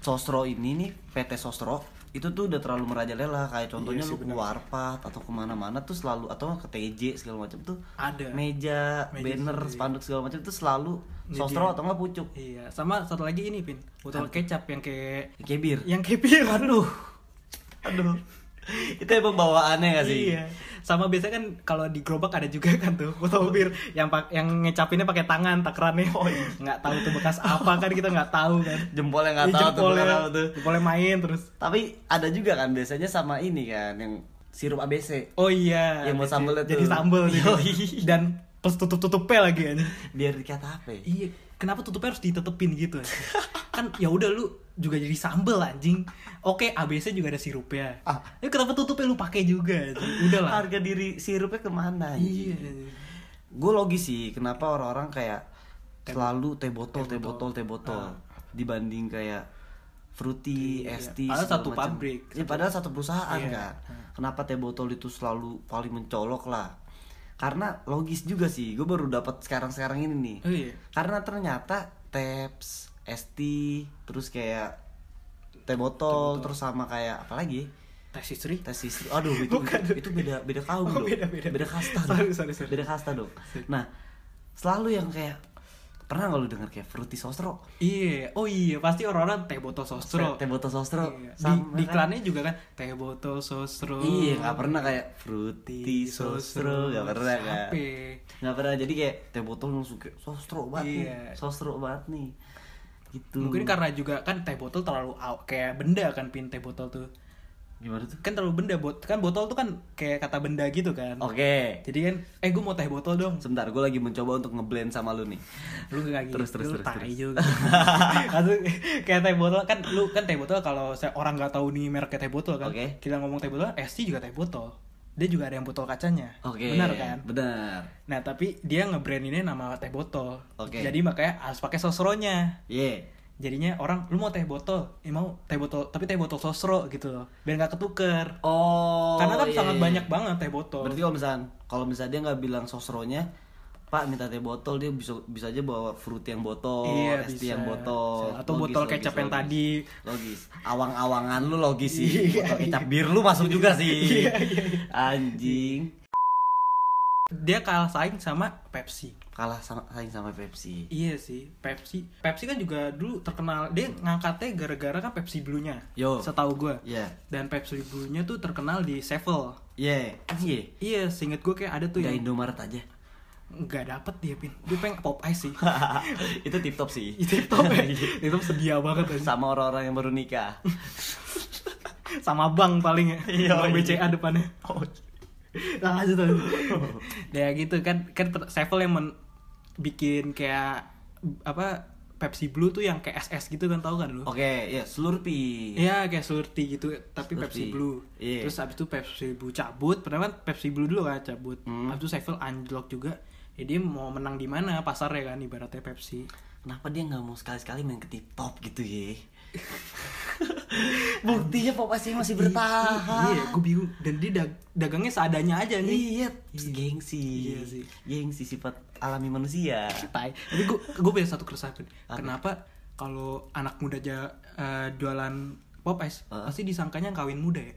[SPEAKER 2] Sosro ini nih PT Sosro itu tuh udah terlalu merajalela kayak contohnya
[SPEAKER 1] Iya sih,
[SPEAKER 2] lu ke Warpat atau kemana-mana tuh selalu atau ke TJ segala macam tuh
[SPEAKER 1] Ada.
[SPEAKER 2] meja,
[SPEAKER 1] Iya. Meja
[SPEAKER 2] banner,
[SPEAKER 1] sendiri.
[SPEAKER 2] spanduk segala macam tuh selalu
[SPEAKER 1] Ini
[SPEAKER 2] Sosro
[SPEAKER 1] dia.
[SPEAKER 2] atau nggak pucuk
[SPEAKER 1] Iya, sama satu lagi ini, Pin. Botol kecap yang kayak
[SPEAKER 2] kayak bir
[SPEAKER 1] yang kipir
[SPEAKER 2] aduh aduh [LAUGHS] itu emang bawaannya gak sih
[SPEAKER 1] iya sama biasanya kan kalau di gerobak ada juga kan tuh botol bir yang pak yang ngecapinnya pakai tangan takrannya nggak tahu tuh bekas apa kan kita nggak tahu kan
[SPEAKER 2] jempolnya nggak
[SPEAKER 1] Iya,
[SPEAKER 2] tahu tuh
[SPEAKER 1] jempolnya,
[SPEAKER 2] bukan apa tuh
[SPEAKER 1] jempolnya main terus
[SPEAKER 2] tapi ada juga kan biasanya sama ini kan yang sirup ABC
[SPEAKER 1] oh iya
[SPEAKER 2] Yang buat sambelnya
[SPEAKER 1] jadi
[SPEAKER 2] tuh.
[SPEAKER 1] sambel gitu.
[SPEAKER 2] Yoi.
[SPEAKER 1] dan plus tutup tutupnya lagi aja
[SPEAKER 2] biar dikata apa ya?
[SPEAKER 1] iya kenapa tutupnya harus ditetepin gitu anjing? [LAUGHS] kan ya udah lu juga jadi sambel anjing oke ABC juga ada sirupnya
[SPEAKER 2] Ah.
[SPEAKER 1] Eh, kenapa tutupnya lu pakai juga anjing? udah lah
[SPEAKER 2] harga diri sirupnya kemana
[SPEAKER 1] iya
[SPEAKER 2] gue logis sih kenapa orang-orang kayak selalu teh botol teh botol teh botol dibanding kayak fruity
[SPEAKER 1] Ah. Iya.
[SPEAKER 2] es tea
[SPEAKER 1] Padahal
[SPEAKER 2] segala
[SPEAKER 1] satu
[SPEAKER 2] macam.
[SPEAKER 1] pabrik,
[SPEAKER 2] ya, padahal satu perusahaan
[SPEAKER 1] Iya.
[SPEAKER 2] kan kenapa teh botol itu selalu paling mencolok lah karena logis juga sih gue baru dapat sekarang sekarang ini nih
[SPEAKER 1] oh iya
[SPEAKER 2] karena ternyata taps es tea terus kayak teh botol, terus sama kayak apa lagi
[SPEAKER 1] tes istri
[SPEAKER 2] tes istri aduh itu
[SPEAKER 1] Bukan.
[SPEAKER 2] itu, itu beda beda kaum
[SPEAKER 1] Oh,
[SPEAKER 2] dong.
[SPEAKER 1] beda, beda.
[SPEAKER 2] kasta dong.
[SPEAKER 1] Sorry, sorry, sorry.
[SPEAKER 2] beda kasta dong nah selalu yang kayak pernah nggak lu denger kayak fruity sosro
[SPEAKER 1] Iya, oh iya pasti orang-orang teh botol sosro.
[SPEAKER 2] teh botol sosro
[SPEAKER 1] Iya. Di,
[SPEAKER 2] Sama
[SPEAKER 1] di
[SPEAKER 2] kan?
[SPEAKER 1] iklannya juga kan teh botol sosro.
[SPEAKER 2] iya nggak pernah kayak fruity sosro nggak pernah kan
[SPEAKER 1] Capek.
[SPEAKER 2] nggak pernah jadi kayak teh botol langsung kayak sosro banget
[SPEAKER 1] Iya.
[SPEAKER 2] nih sosro banget nih gitu
[SPEAKER 1] Mungkin karena juga kan teh botol terlalu au- kayak benda kan pin teh botol tuh.
[SPEAKER 2] gimana tuh
[SPEAKER 1] Kan terlalu benda bot kan botol tuh kan kayak kata benda gitu kan.
[SPEAKER 2] oke
[SPEAKER 1] Jadi kan eh gue mau teh botol dong.
[SPEAKER 2] sebentar gue lagi mencoba untuk ngeblend sama lu nih
[SPEAKER 1] Lu gak gitu.
[SPEAKER 2] Terus, terus,
[SPEAKER 1] lu
[SPEAKER 2] terus,
[SPEAKER 1] tai
[SPEAKER 2] terus.
[SPEAKER 1] [LAUGHS] juga. Langsung kayak teh botol kan lu kan teh botol kalau se- orang nggak tahu nih mereknya teh botol kan.
[SPEAKER 2] Oke.
[SPEAKER 1] Kita ngomong teh botol, SC juga teh botol. Dia juga ada yang botol kacanya.
[SPEAKER 2] oke
[SPEAKER 1] Benar kan?
[SPEAKER 2] benar
[SPEAKER 1] Nah tapi dia ngebrandinnya nama teh botol.
[SPEAKER 2] Oke.
[SPEAKER 1] Jadi makanya harus pakai sosronya.
[SPEAKER 2] yeah
[SPEAKER 1] Jadinya orang lu mau teh botol, eh, mau teh botol, tapi teh botol sosro gitu loh, biar nggak ketuker.
[SPEAKER 2] Oh.
[SPEAKER 1] Karena kan
[SPEAKER 2] iya,
[SPEAKER 1] sangat
[SPEAKER 2] iya.
[SPEAKER 1] banyak banget teh botol.
[SPEAKER 2] Berarti kalau misalnya kalau misalnya dia nggak bilang sosronya, Pak minta teh botol dia bisa bisa aja bawa fruit yang botol,
[SPEAKER 1] Iya, bisa.
[SPEAKER 2] es tea oh, yang botol,
[SPEAKER 1] Atau botol kecap yang tadi. Iya,
[SPEAKER 2] Logis. Awang-awangan lu logis sih. botol kecap bir lu masuk juga sih. Anjing.
[SPEAKER 1] Dia kalah saing sama Pepsi.
[SPEAKER 2] Kalah sama saing sama Pepsi.
[SPEAKER 1] Iya sih, Pepsi. Pepsi kan juga dulu terkenal dia ngangkatnya gara-gara kan Pepsi Blue-nya.
[SPEAKER 2] Yo.
[SPEAKER 1] Setahu gua.
[SPEAKER 2] Iya.
[SPEAKER 1] Dan Pepsi Blue-nya tuh terkenal di Sevel.
[SPEAKER 2] Iya. Iya.
[SPEAKER 1] Iya, seinget gua kayak ada tuh
[SPEAKER 2] Udah
[SPEAKER 1] yang
[SPEAKER 2] Indomaret aja.
[SPEAKER 1] nggak dapet dia pin. Dia pengen pop ice sih. [LAUGHS]
[SPEAKER 2] [LAUGHS] itu tip top sih.
[SPEAKER 1] Itu top
[SPEAKER 2] [LAUGHS]
[SPEAKER 1] ya.
[SPEAKER 2] Iya.
[SPEAKER 1] Itu sedia banget aja.
[SPEAKER 2] sama orang-orang yang baru nikah.
[SPEAKER 1] Sama bank paling ya.
[SPEAKER 2] Iya,
[SPEAKER 1] Bank
[SPEAKER 2] [LAUGHS] iya.
[SPEAKER 1] BCA depannya. [LAUGHS] Nah,
[SPEAKER 2] Oh. lanjut [LAUGHS] lanjut
[SPEAKER 1] ya gitu kan kan per- Sevel yang men- bikin kayak apa Pepsi Blue tuh yang kayak SS gitu kan tau kan lu?
[SPEAKER 2] Oke, ya Slurpee.
[SPEAKER 1] Iya kayak Slurpee gitu tapi Pepsi
[SPEAKER 2] Slurpee.
[SPEAKER 1] Blue.
[SPEAKER 2] Iya.
[SPEAKER 1] Terus abis itu Pepsi Blue cabut, pertama kan Pepsi Blue dulu kan cabut.
[SPEAKER 2] Hmm.
[SPEAKER 1] Abis itu Sevel anjlok juga. Jadi dia mau menang di mana pasarnya kan ibaratnya Pepsi.
[SPEAKER 2] Kenapa dia nggak mau sekali-sekali main ke TikTok gitu ya? [LAUGHS] Buktinya Pop Asia masih bertahan.
[SPEAKER 1] Iya, gue bingung. Dan dia dag- dagangnya seadanya aja nih.
[SPEAKER 2] Iya, gengsi.
[SPEAKER 1] Iya sih.
[SPEAKER 2] Gengsi sifat alami manusia.
[SPEAKER 1] Tai. Tapi gue gue punya satu keresahan. Bud. Kenapa kalau anak muda aja eh, jualan pop ice
[SPEAKER 2] Heeh.
[SPEAKER 1] pasti disangkanya kawin muda ya?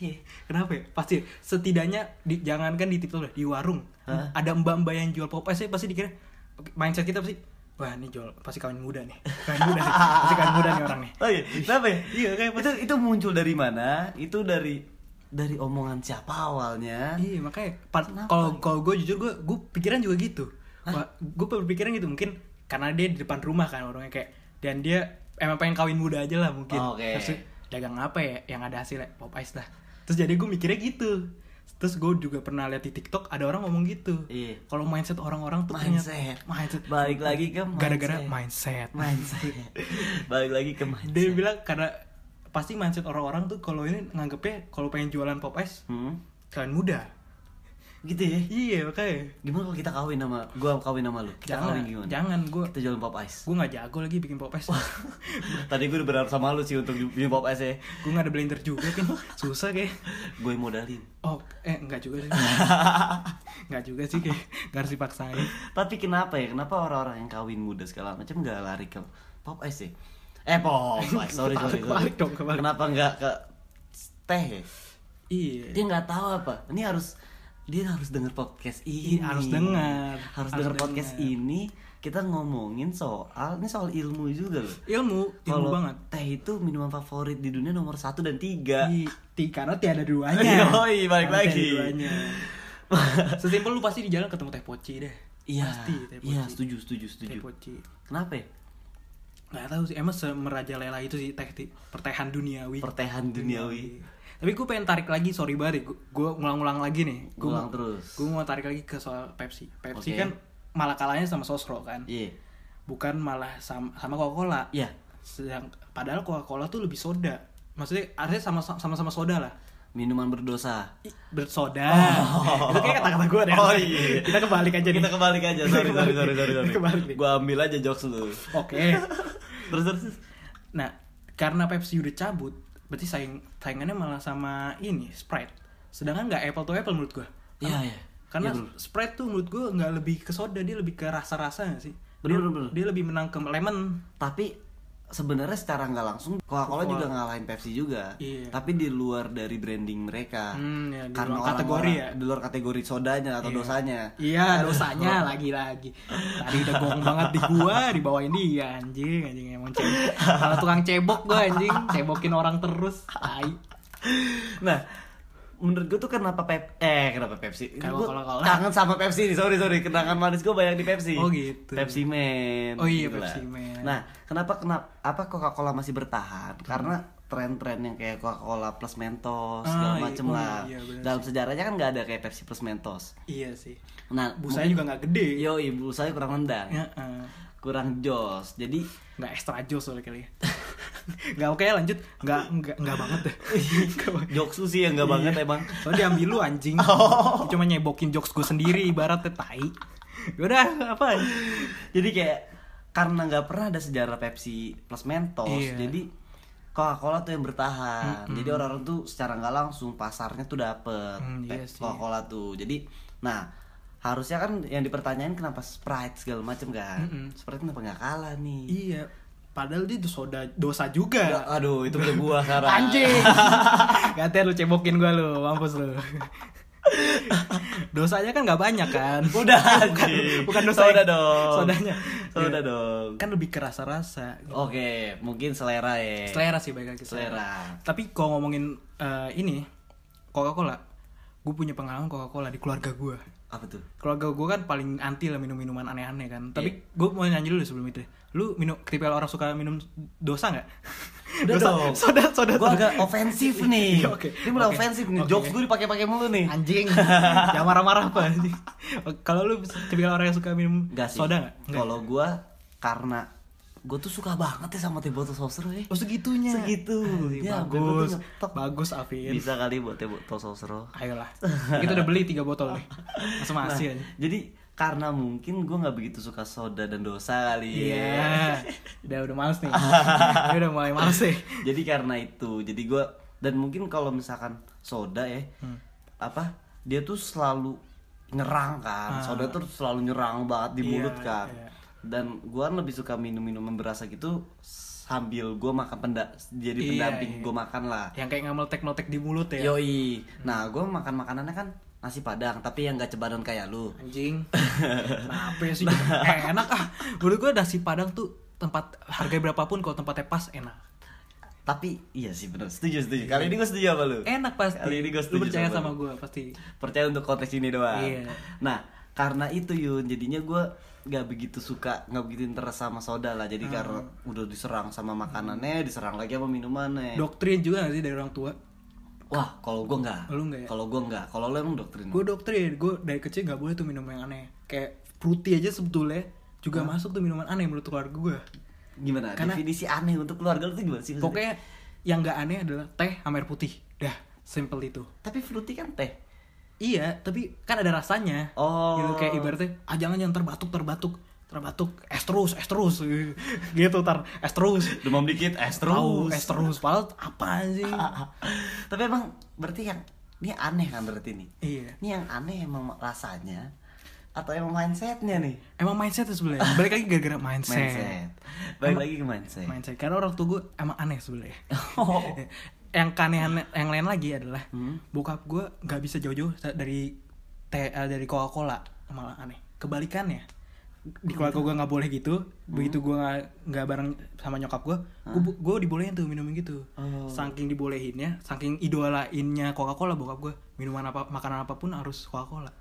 [SPEAKER 2] Iya.
[SPEAKER 1] Kenapa ya? Pasti setidaknya di, jangankan di TikTok lah, di warung
[SPEAKER 2] Hah?
[SPEAKER 1] ada mbak-mbak yang jual pop ice pasti dikira oke, mindset kita pasti wah ini jual pasti kawin muda nih. Kawin muda nih. Pasti kawin muda nih orang nih.
[SPEAKER 2] Oh iya, kenapa ya? Iya, kayak itu, itu muncul dari mana? Itu dari dari omongan siapa awalnya?
[SPEAKER 1] Iya makanya pa-
[SPEAKER 2] Kenapa
[SPEAKER 1] kalau
[SPEAKER 2] ya?
[SPEAKER 1] kalau gue jujur gue gue pikiran juga gitu. Gue berpikiran gitu mungkin karena dia di depan rumah kan orangnya kayak dan dia emang pengen kawin muda aja lah mungkin.
[SPEAKER 2] Oh, Oke.
[SPEAKER 1] Terus dia, dagang apa ya yang ada hasilnya pop ice lah. Terus jadi gue mikirnya gitu. Terus gue juga pernah lihat di TikTok ada orang ngomong gitu.
[SPEAKER 2] Iya.
[SPEAKER 1] Kalau mindset orang-orang tuh
[SPEAKER 2] Mindset.
[SPEAKER 1] ternyata mindset.
[SPEAKER 2] Balik lagi ke
[SPEAKER 1] gara-gara mindset.
[SPEAKER 2] mindset. Mindset. [LAUGHS] Balik lagi ke mindset.
[SPEAKER 1] Dia bilang karena pasti mindset orang-orang tuh kalau ini nganggepnya kalau pengen jualan pop ice
[SPEAKER 2] hmm?
[SPEAKER 1] kawin muda.
[SPEAKER 2] Gitu ya.
[SPEAKER 1] Iya makanya.
[SPEAKER 2] Gimana kalau kita kawin sama gua kawin sama lu? Kita
[SPEAKER 1] jangan
[SPEAKER 2] kawin gimana?
[SPEAKER 1] jangan gue
[SPEAKER 2] Kita jualan pop ice. [LAUGHS]
[SPEAKER 1] gue nggak jago lagi bikin pop ice [LAUGHS]
[SPEAKER 2] Tadi gue udah berharap sama lu sih untuk bikin pop ice ya.
[SPEAKER 1] gue nggak ada blender juga kan susah kayak
[SPEAKER 2] Gue modalin.
[SPEAKER 1] oh eh nggak juga
[SPEAKER 2] [LAUGHS]
[SPEAKER 1] sih nggak juga sih kayak nggak harus dipaksain
[SPEAKER 2] Tapi kenapa ya? Kenapa orang-orang yang kawin muda segala macam nggak lari ke pop ice ya? Eh pop ice, sorry sorry. sorry.
[SPEAKER 1] Kebalik dong, kebalik.
[SPEAKER 2] Kenapa nggak ke teh ya?
[SPEAKER 1] iya
[SPEAKER 2] Dia nggak tahu apa. Ini harus dia harus denger podcast ini.
[SPEAKER 1] Iya, harus dengar.
[SPEAKER 2] Harus
[SPEAKER 1] Harus
[SPEAKER 2] denger podcast
[SPEAKER 1] dengar.
[SPEAKER 2] ini. Kita ngomongin soal ini soal ilmu juga loh.
[SPEAKER 1] ilmu ilmu
[SPEAKER 2] Kalau
[SPEAKER 1] banget
[SPEAKER 2] teh itu minuman favorit di dunia nomor satu dan tiga.
[SPEAKER 1] Iya, ti- karena tiada duanya
[SPEAKER 2] Yoi, balik
[SPEAKER 1] Karena
[SPEAKER 2] lagi.
[SPEAKER 1] tiada duanya. sesimpel lu pasti di jalan ketemu teh poci deh
[SPEAKER 2] [LAUGHS] Iya,
[SPEAKER 1] pasti teh poci
[SPEAKER 2] iya, setuju, setuju,
[SPEAKER 1] teh
[SPEAKER 2] setuju.
[SPEAKER 1] poci
[SPEAKER 2] Kenapa ya?
[SPEAKER 1] nggak tahu sih emang semerajalela itu sih teh ti- pertehan duniawi
[SPEAKER 2] Pertehan duniawi.
[SPEAKER 1] tapi gue pengen tarik lagi sorry banget gue ngulang-ulang lagi nih Gua mau-
[SPEAKER 2] Ulang terus.
[SPEAKER 1] gue mau tarik lagi ke soal Pepsi Pepsi
[SPEAKER 2] Oke.
[SPEAKER 1] kan malah kalahnya sama Sosro kan
[SPEAKER 2] Iya.
[SPEAKER 1] bukan malah sama sama Coca-Cola
[SPEAKER 2] Iya.
[SPEAKER 1] sedang padahal Coca-Cola tuh lebih soda maksudnya artinya sama sama sama soda lah
[SPEAKER 2] Minuman berdosa.
[SPEAKER 1] Ih, bersoda itu kayak kata-kata gue deh
[SPEAKER 2] Oh, iya.
[SPEAKER 1] kita kebalik aja nih
[SPEAKER 2] kita kebalik aja
[SPEAKER 1] Kita
[SPEAKER 2] sorry
[SPEAKER 1] kebalik.
[SPEAKER 2] sorry sorry sorry, sorry.
[SPEAKER 1] Kita kebalik nih.
[SPEAKER 2] gua ambil aja jokes lu
[SPEAKER 1] oke
[SPEAKER 2] terus terus terus.
[SPEAKER 1] nah karena Pepsi udah cabut berarti saing saingannya malah sama ini Sprite sedangkan nggak apple to apple menurut gue
[SPEAKER 2] iya iya
[SPEAKER 1] Karena
[SPEAKER 2] Iya, bener.
[SPEAKER 1] Sprite tuh menurut gue nggak lebih ke soda, dia lebih ke rasa-rasa nggak sih? dia,
[SPEAKER 2] Bener, bener, bener.
[SPEAKER 1] dia lebih menang ke lemon.
[SPEAKER 2] tapi sebenarnya secara nggak langsung Coca-Cola
[SPEAKER 1] Coca-Cola.
[SPEAKER 2] juga ngalahin Pepsi juga
[SPEAKER 1] Iya.
[SPEAKER 2] tapi di luar dari branding mereka
[SPEAKER 1] Hmm, ya, di
[SPEAKER 2] karena
[SPEAKER 1] luar kategori
[SPEAKER 2] orang-orang-
[SPEAKER 1] ya.
[SPEAKER 2] di luar kategori sodanya atau
[SPEAKER 1] Iya.
[SPEAKER 2] dosanya
[SPEAKER 1] Iya, [LAUGHS] dosanya lagi-lagi. Tadi udah bohong banget di gua, dibawain dia anjing, anjing emang cebok. Kalau tukang cebok gua anjing, cebokin orang terus. Tai.
[SPEAKER 2] [LAUGHS] nah menurut gue tuh kenapa Pep eh kenapa Pepsi
[SPEAKER 1] Kalau-
[SPEAKER 2] Gua
[SPEAKER 1] kalau- kalau-
[SPEAKER 2] kangen sama Pepsi nih sorry sorry kenangan manis gue banyak di Pepsi
[SPEAKER 1] Oh, gitu.
[SPEAKER 2] Pepsi Man
[SPEAKER 1] Oh, iya,
[SPEAKER 2] gitu lah.
[SPEAKER 1] Pepsi Man. Hmm.
[SPEAKER 2] nah kenapa kenapa apa Coca-Cola masih bertahan karena tren-tren yang kayak Coca-Cola plus Mentos
[SPEAKER 1] Ah,
[SPEAKER 2] segala
[SPEAKER 1] iya.
[SPEAKER 2] macem
[SPEAKER 1] Oh,
[SPEAKER 2] lah
[SPEAKER 1] iya, benar
[SPEAKER 2] dalam sejarahnya kan nggak ada kayak Pepsi plus Mentos
[SPEAKER 1] Iya sih.
[SPEAKER 2] nah
[SPEAKER 1] Busanya juga Ya. nggak gede.
[SPEAKER 2] mungkin- yo ibu saya kurang rendang
[SPEAKER 1] Heeh.
[SPEAKER 2] kurang jos jadi
[SPEAKER 1] Nggak extra jos soalnya kali ya. [LAUGHS] Nggak oke lanjut. Nggak, nggak, nggak banget [LAUGHS] deh. Nggak banget.
[SPEAKER 2] jokes lu sih yang
[SPEAKER 1] Iya.
[SPEAKER 2] nggak banget emang
[SPEAKER 1] Soalnya diambil lu anjing. Cuma nyebokin jokes gue sendiri ibaratnya tai. Yaudah, apa?
[SPEAKER 2] [LAUGHS] jadi kayak karena nggak pernah ada sejarah Pepsi plus Mentos
[SPEAKER 1] Iya.
[SPEAKER 2] jadi Coca-Cola tuh yang bertahan jadi orang-orang tuh secara nggak langsung pasarnya tuh dapet
[SPEAKER 1] Hmm, iya
[SPEAKER 2] Pep-
[SPEAKER 1] sih.
[SPEAKER 2] Coca-Cola tuh jadi nah harusnya kan yang dipertanyain kenapa Sprite segala macem kan
[SPEAKER 1] Mm-mm.
[SPEAKER 2] Sprite kenapa nggak kalah nih
[SPEAKER 1] Iya.
[SPEAKER 2] Iya.
[SPEAKER 1] Padahal dia soda dosa juga.
[SPEAKER 2] aduh itu udah gua sekarang
[SPEAKER 1] [LAUGHS] Anjing. Gantian lu cebokin gua lu, mampus lu. Dosanya kan nggak banyak kan.
[SPEAKER 2] udah
[SPEAKER 1] [LAUGHS] bukan,
[SPEAKER 2] anjing.
[SPEAKER 1] bukan dosa.
[SPEAKER 2] soda dong
[SPEAKER 1] Sodanya.
[SPEAKER 2] soda
[SPEAKER 1] Iya.
[SPEAKER 2] dong
[SPEAKER 1] Kan lebih kerasa rasa.
[SPEAKER 2] oke mungkin selera ya
[SPEAKER 1] Selera sih baik lagi
[SPEAKER 2] Selera.
[SPEAKER 1] Tapi kalau ngomongin eh, ini Coca-Cola, gue punya pengalaman Coca-Cola di keluarga gue.
[SPEAKER 2] apa tuh
[SPEAKER 1] keluarga gue kan paling anti lah minum minuman aneh-aneh kan tapi
[SPEAKER 2] Iya.
[SPEAKER 1] gue mau nyanyi dulu sebelum itu lu minum tipikal orang suka minum dosa nggak
[SPEAKER 2] Udah
[SPEAKER 1] dosa
[SPEAKER 2] dong.
[SPEAKER 1] soda soda
[SPEAKER 2] gue
[SPEAKER 1] soda.
[SPEAKER 2] agak ofensif nih
[SPEAKER 1] Iya, oke.
[SPEAKER 2] ini mulai
[SPEAKER 1] Oke.
[SPEAKER 2] ofensif nih
[SPEAKER 1] Oke.
[SPEAKER 2] jokes gue dipakai-pakai mulu nih
[SPEAKER 1] anjing [LAUGHS] jangan marah-marah apa anjing kalau lu tipikal orang yang suka minum
[SPEAKER 2] Enggak sih.
[SPEAKER 1] soda nggak Nggak.
[SPEAKER 2] Kalau gue karena gue tuh suka banget ya sama teh botol saucer ya.
[SPEAKER 1] oh segitunya
[SPEAKER 2] Segitu.
[SPEAKER 1] Anjing,
[SPEAKER 2] Ya, gua tuh
[SPEAKER 1] bagus
[SPEAKER 2] ngetok.
[SPEAKER 1] bagus Afin
[SPEAKER 2] Bisa kali buat teh botol saucer.
[SPEAKER 1] ayolah kita udah beli tiga botol
[SPEAKER 2] [LAUGHS]
[SPEAKER 1] nih masih
[SPEAKER 2] Nah,
[SPEAKER 1] masih aja
[SPEAKER 2] jadi karena mungkin gue nggak begitu suka soda dan dosa
[SPEAKER 1] Iya,
[SPEAKER 2] kali ya.
[SPEAKER 1] udah udah males
[SPEAKER 2] [LAUGHS]
[SPEAKER 1] nih. Dia udah mulai males nih.
[SPEAKER 2] jadi karena itu, jadi gue dan mungkin kalau misalkan soda ya
[SPEAKER 1] Hmm.
[SPEAKER 2] apa dia tuh selalu nyerang kan. Soda tuh selalu nyerang
[SPEAKER 1] Ah.
[SPEAKER 2] banget di
[SPEAKER 1] Iya,
[SPEAKER 2] mulut kan.
[SPEAKER 1] iya.
[SPEAKER 2] Dan gue lebih suka minum minuman berasa gitu sambil gue makan penda jadi
[SPEAKER 1] Iya,
[SPEAKER 2] pendamping
[SPEAKER 1] iya.
[SPEAKER 2] gue makan lah.
[SPEAKER 1] Yang kayak ngamel-tek-notek di mulut ya.
[SPEAKER 2] Yoi. Nah, gue makan makanannya kan nasi padang, tapi yang gak cebaron kayak lu.
[SPEAKER 1] Anjing.
[SPEAKER 2] [LAUGHS]
[SPEAKER 1] Kenapa ya sih? Eh, enak ah. Menurut gua nasi Padang tuh tempat harga berapapun kalau tempatnya pas enak.
[SPEAKER 2] Tapi iya sih bener, setuju setuju. Kali ini gue setuju sama lu.
[SPEAKER 1] Enak pasti.
[SPEAKER 2] Kali ini gua Eh.
[SPEAKER 1] Lu
[SPEAKER 2] setuju
[SPEAKER 1] percaya
[SPEAKER 2] sama
[SPEAKER 1] sama
[SPEAKER 2] lu.
[SPEAKER 1] gua pasti.
[SPEAKER 2] Percaya untuk konteks ini doang.
[SPEAKER 1] Iya.
[SPEAKER 2] Nah, karena itu Yun, jadinya gue nggak begitu suka, nggak begitu interest sama soda lah. Jadi karena
[SPEAKER 1] Hmm.
[SPEAKER 2] udah diserang sama makanannya, diserang lagi sama minumannya.
[SPEAKER 1] Doktrin juga gak sih dari orang tua?
[SPEAKER 2] Hmm. Wah, kalau gue nggak.
[SPEAKER 1] Lu nggak ya?
[SPEAKER 2] Kalau gue nggak. Kalau lu emang doktrin.
[SPEAKER 1] Gua doktrin, gua dari kecil nggak boleh tuh minum yang aneh. Kayak fruity aja sebetulnya juga masuk tuh minuman aneh menurut keluarga gua.
[SPEAKER 2] Gimana?
[SPEAKER 1] Karena-
[SPEAKER 2] Definisi aneh untuk keluarga lu tuh gimana Iya sih? maksudnya?
[SPEAKER 1] Pokoknya yang nggak aneh adalah teh sama air putih. Dah, simple itu.
[SPEAKER 2] Tapi fruity kan teh.
[SPEAKER 1] Iya, tapi kan ada rasanya.
[SPEAKER 2] Oh.
[SPEAKER 1] Gitu, kayak ibaratnya, ah jangan jangan terbatuk terbatuk terbatuk es terus es terus [LAUGHS] gitu tar es terus
[SPEAKER 2] Demam dikit, es
[SPEAKER 1] Tahu, es
[SPEAKER 2] terus.
[SPEAKER 1] terus padahal apa
[SPEAKER 2] [LAUGHS]
[SPEAKER 1] sih
[SPEAKER 2] Ah, Tapi emang berarti yang ini aneh kan berarti nih.
[SPEAKER 1] iya
[SPEAKER 2] Ini yang aneh emang rasanya atau emang mindsetnya nih?
[SPEAKER 1] emang mindset tuh sebenarnya balik lagi gara-gara mindset mindset,
[SPEAKER 2] Mindset. Balik lagi ke mindset.
[SPEAKER 1] karena orang tua gue emang aneh sebenarnya
[SPEAKER 2] [LAUGHS] Oh.
[SPEAKER 1] [LAUGHS] yang keanehan yang lain lagi adalah
[SPEAKER 2] Hmm.
[SPEAKER 1] bokap gue nggak bisa jauh-jauh dari teh eh, dari Coca Cola malah aneh kebalikannya di keluarga gue nggak boleh gitu
[SPEAKER 2] Hmm.
[SPEAKER 1] begitu gue nggak nggak bareng sama nyokap gue gue dibolehin tuh minumin gitu
[SPEAKER 2] Oh.
[SPEAKER 1] saking dibolehinnya saking idolainnya Coca Cola bokap gue minuman apa makanan apapun harus Coca Cola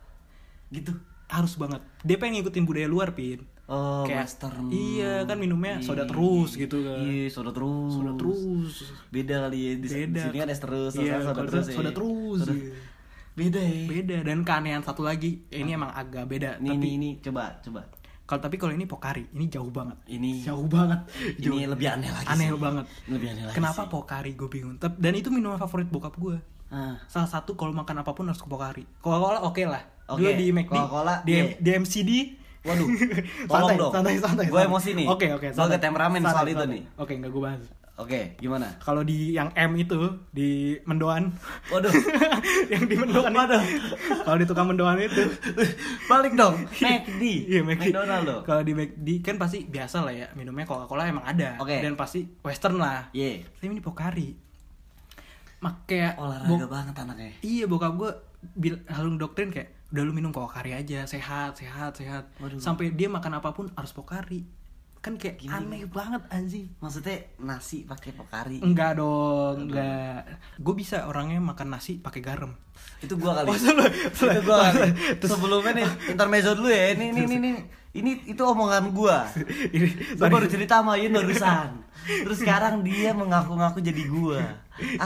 [SPEAKER 2] Gitu.
[SPEAKER 1] harus banget dia pengen ngikutin budaya luar pin
[SPEAKER 2] Oh,
[SPEAKER 1] Kayak-
[SPEAKER 2] Western.
[SPEAKER 1] iya, kan minumnya soda
[SPEAKER 2] Iya.
[SPEAKER 1] terus gitu kan.
[SPEAKER 2] Iya, soda terus.
[SPEAKER 1] sudah terus
[SPEAKER 2] Beda kali ya di, di
[SPEAKER 1] Beda.
[SPEAKER 2] sini kan es terus,
[SPEAKER 1] Iya,
[SPEAKER 2] soda, soda
[SPEAKER 1] kalau
[SPEAKER 2] terus.
[SPEAKER 1] soda
[SPEAKER 2] ya.
[SPEAKER 1] terus,
[SPEAKER 2] Soda-
[SPEAKER 1] iya.
[SPEAKER 2] Beda ya.
[SPEAKER 1] beda dan keanehan satu lagi ya, ini emang agak beda
[SPEAKER 2] Ini,
[SPEAKER 1] tapi
[SPEAKER 2] ini, ini, coba, coba.
[SPEAKER 1] kalau tapi kalau ini pokari ini jauh banget
[SPEAKER 2] Ini
[SPEAKER 1] jauh banget Jauh.
[SPEAKER 2] ini lebih aneh lagi.
[SPEAKER 1] aneh
[SPEAKER 2] sih.
[SPEAKER 1] banget
[SPEAKER 2] Lebih aneh lagi.
[SPEAKER 1] kenapa
[SPEAKER 2] sih.
[SPEAKER 1] pokari gue bingung Tep- dan itu minuman favorit bokap gue
[SPEAKER 2] Ah.
[SPEAKER 1] salah satu kalau makan apapun harus ke pokari coca cola oke lah
[SPEAKER 2] Oke,
[SPEAKER 1] Dulu di McD
[SPEAKER 2] Coca-Cola,
[SPEAKER 1] di,
[SPEAKER 2] iya.
[SPEAKER 1] di MCD [LAUGHS]
[SPEAKER 2] Waduh, tolong
[SPEAKER 1] santai,
[SPEAKER 2] dong.
[SPEAKER 1] santai santai
[SPEAKER 2] Gue
[SPEAKER 1] santai.
[SPEAKER 2] emosi nih.
[SPEAKER 1] oke oke
[SPEAKER 2] Gue
[SPEAKER 1] santai.
[SPEAKER 2] agak temperamen
[SPEAKER 1] Santai,
[SPEAKER 2] soal itu
[SPEAKER 1] santai.
[SPEAKER 2] nih.
[SPEAKER 1] oke nggak gue bahas
[SPEAKER 2] Oke, gimana?
[SPEAKER 1] kalau di yang M itu di mendoan [LAUGHS]
[SPEAKER 2] Waduh,
[SPEAKER 1] yang di mendoan itu
[SPEAKER 2] Waduh.
[SPEAKER 1] kalau di tukang mendoan itu
[SPEAKER 2] balik dong. McD.
[SPEAKER 1] [LAUGHS] iya McD
[SPEAKER 2] McDonald loh.
[SPEAKER 1] kalau di McD kan pasti biasa lah ya minumnya Coca Cola emang ada
[SPEAKER 2] Oke.
[SPEAKER 1] dan pasti Western lah
[SPEAKER 2] Ye,
[SPEAKER 1] tapi ini Pokari mak kayak
[SPEAKER 2] olahraga
[SPEAKER 1] bok-
[SPEAKER 2] banget anaknya.
[SPEAKER 1] iya bokap gue bil halu doktrin kayak udah lu minum Pokari aja sehat sehat sehat
[SPEAKER 2] Waduh.
[SPEAKER 1] sampai dia makan apapun harus Pokari kan kayak
[SPEAKER 2] Gini,
[SPEAKER 1] aneh banget anjing
[SPEAKER 2] Maksudnya nasi pakai pokari.
[SPEAKER 1] enggak dong enggak gue bisa orangnya makan nasi pakai
[SPEAKER 2] [LAUGHS]
[SPEAKER 1] garam
[SPEAKER 2] Itu gua kali.
[SPEAKER 1] Masa lu-
[SPEAKER 2] itu gua kali. Sebelumnya nih intermezzo dulu ya. Ini ini ini ini, ini itu omongan gua.
[SPEAKER 1] ini
[SPEAKER 2] Gua
[SPEAKER 1] [LAUGHS]
[SPEAKER 2] baru cerita sama Yun barusan. Terus sekarang dia mengaku-ngaku jadi gua.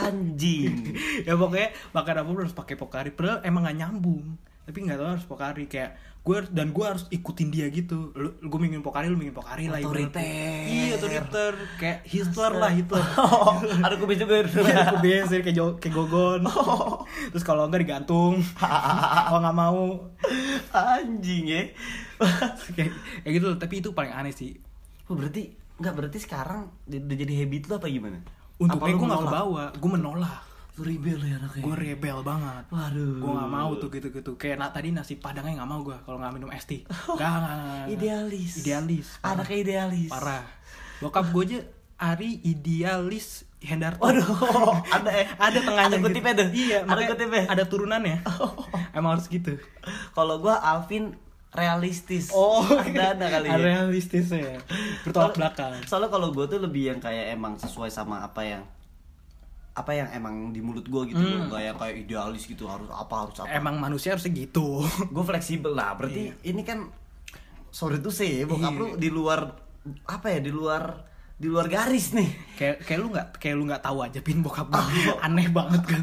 [SPEAKER 2] Anjing.
[SPEAKER 1] ya pokoknya makan apa harus pakai pokari padahal emang gak nyambung tapi nggak tahu harus pokari kayak gue dan gue harus ikutin dia gitu lu gue minum pokari lu minum pokari lah ibaratnya.
[SPEAKER 2] Otoriter.
[SPEAKER 1] iya otoriter kayak Hitler lah [LAUGHS] Hitler
[SPEAKER 2] [LAUGHS] Oh, ada kubis juga.
[SPEAKER 1] Iya, aku biasa kayak jo- kayak gogon
[SPEAKER 2] Oh.
[SPEAKER 1] terus kalau enggak
[SPEAKER 2] [LAUGHS]
[SPEAKER 1] digantung kalau nggak mau
[SPEAKER 2] Anjing ya.
[SPEAKER 1] kayak, kayak gitu loh. tapi itu paling aneh sih
[SPEAKER 2] Oh, berarti nggak berarti sekarang udah jadi habit lu apa gimana?
[SPEAKER 1] untungnya gue nggak
[SPEAKER 2] kebau
[SPEAKER 1] kebawa gue menolak
[SPEAKER 2] Lu rebel ya anaknya.
[SPEAKER 1] gue rebel banget
[SPEAKER 2] Waduh.
[SPEAKER 1] gue nggak mau tuh gitu-gitu kayak nah, tadi nasi padangnya nggak mau gue kalau nggak minum es teh Nggak, nggak, nggak, nggak.
[SPEAKER 2] Oh. Idealis.
[SPEAKER 1] idealis parah.
[SPEAKER 2] Anaknya idealis.
[SPEAKER 1] parah bokap gue aja Ari idealis Hendarto [LAUGHS]
[SPEAKER 2] Waduh, ada eh,
[SPEAKER 1] ada tengahnya
[SPEAKER 2] Ada
[SPEAKER 1] gitu.
[SPEAKER 2] kutipnya tuh.
[SPEAKER 1] iya
[SPEAKER 2] ada
[SPEAKER 1] makanya
[SPEAKER 2] kutipnya. Oh.
[SPEAKER 1] ada turunannya emang harus gitu
[SPEAKER 2] Kalau gua Alvin
[SPEAKER 1] [LAUGHS]
[SPEAKER 2] realistis. ada Oh, ada kali ya.
[SPEAKER 1] realistis ya bertolak belakang
[SPEAKER 2] Soalnya kalau gua tuh lebih yang kayak emang sesuai sama apa yang apa yang emang di mulut gue gitu loh nggak yang kayak idealis gitu harus apa harus apa
[SPEAKER 1] Emang manusia harus gitu. [LAUGHS]
[SPEAKER 2] gue fleksibel lah berarti ini kan sorry tuh sih bokap
[SPEAKER 1] Iya.
[SPEAKER 2] lu di luar apa ya di luar di luar garis nih
[SPEAKER 1] kayak kayak lu nggak kayak lu nggak tahu aja pin bokap gua.
[SPEAKER 2] Oh.
[SPEAKER 1] [LAUGHS] Aneh banget kan.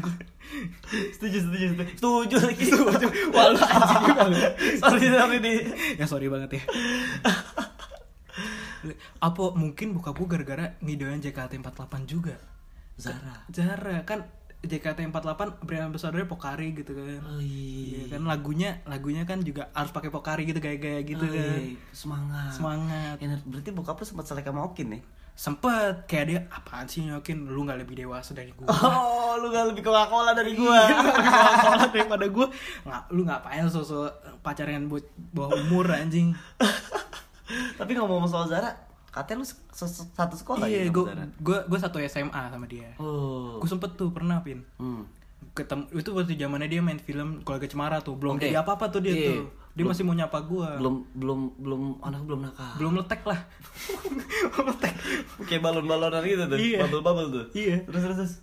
[SPEAKER 2] [LAUGHS] setuju setuju setuju setuju lagi setuju
[SPEAKER 1] Wah, lu anjing juga lu.
[SPEAKER 2] [LAUGHS] sorry sorry nih
[SPEAKER 1] ya sorry
[SPEAKER 2] [LAUGHS]
[SPEAKER 1] banget ya. Apa mungkin bokap gua gara-gara ngidolain JKT48 juga?
[SPEAKER 2] Zara
[SPEAKER 1] Zara kan JKT48 brand ambassador Pokari gitu kan.
[SPEAKER 2] oh
[SPEAKER 1] Iya
[SPEAKER 2] iya
[SPEAKER 1] kan lagunya lagunya kan juga harus pakai Pokari gitu gaya-gaya gitu
[SPEAKER 2] Oh,
[SPEAKER 1] kan.
[SPEAKER 2] iya. semangat
[SPEAKER 1] Semangat.
[SPEAKER 2] Ener- berarti bokap lu sempat selek sama Okin nih
[SPEAKER 1] Sempet kayak dia apaan sih nyokin lu nggak lebih dewasa dari gua.
[SPEAKER 2] [LAUGHS]
[SPEAKER 1] [LAUGHS]
[SPEAKER 2] oh lu gak lebih coca cola dari [LAUGHS] gua
[SPEAKER 1] Salah daripada gue nggak lu ngapain sosok pacaran buat bawah umur anjing
[SPEAKER 2] tapi ngomong soal Zara katanya lu se- se- satu sekolah
[SPEAKER 1] iya gue
[SPEAKER 2] gitu sama Zara
[SPEAKER 1] gue gue satu SMA sama dia
[SPEAKER 2] oh
[SPEAKER 1] gue sempet tuh pernah pin
[SPEAKER 2] hmm.
[SPEAKER 1] ketemu itu waktu zamannya dia main film keluarga cemara tuh belum
[SPEAKER 2] Oke.
[SPEAKER 1] kayak apa apa tuh dia
[SPEAKER 2] Iya.
[SPEAKER 1] tuh dia masih mau nyapa gue belum,
[SPEAKER 2] belum belum belum oh, anak belum [LAUGHS] nakal
[SPEAKER 1] letek lah Belum letek
[SPEAKER 2] kayak balon-balonan gitu tuh,
[SPEAKER 1] Iya.
[SPEAKER 2] bubble-bubble tuh.
[SPEAKER 1] Iya.
[SPEAKER 2] Terus terus terus.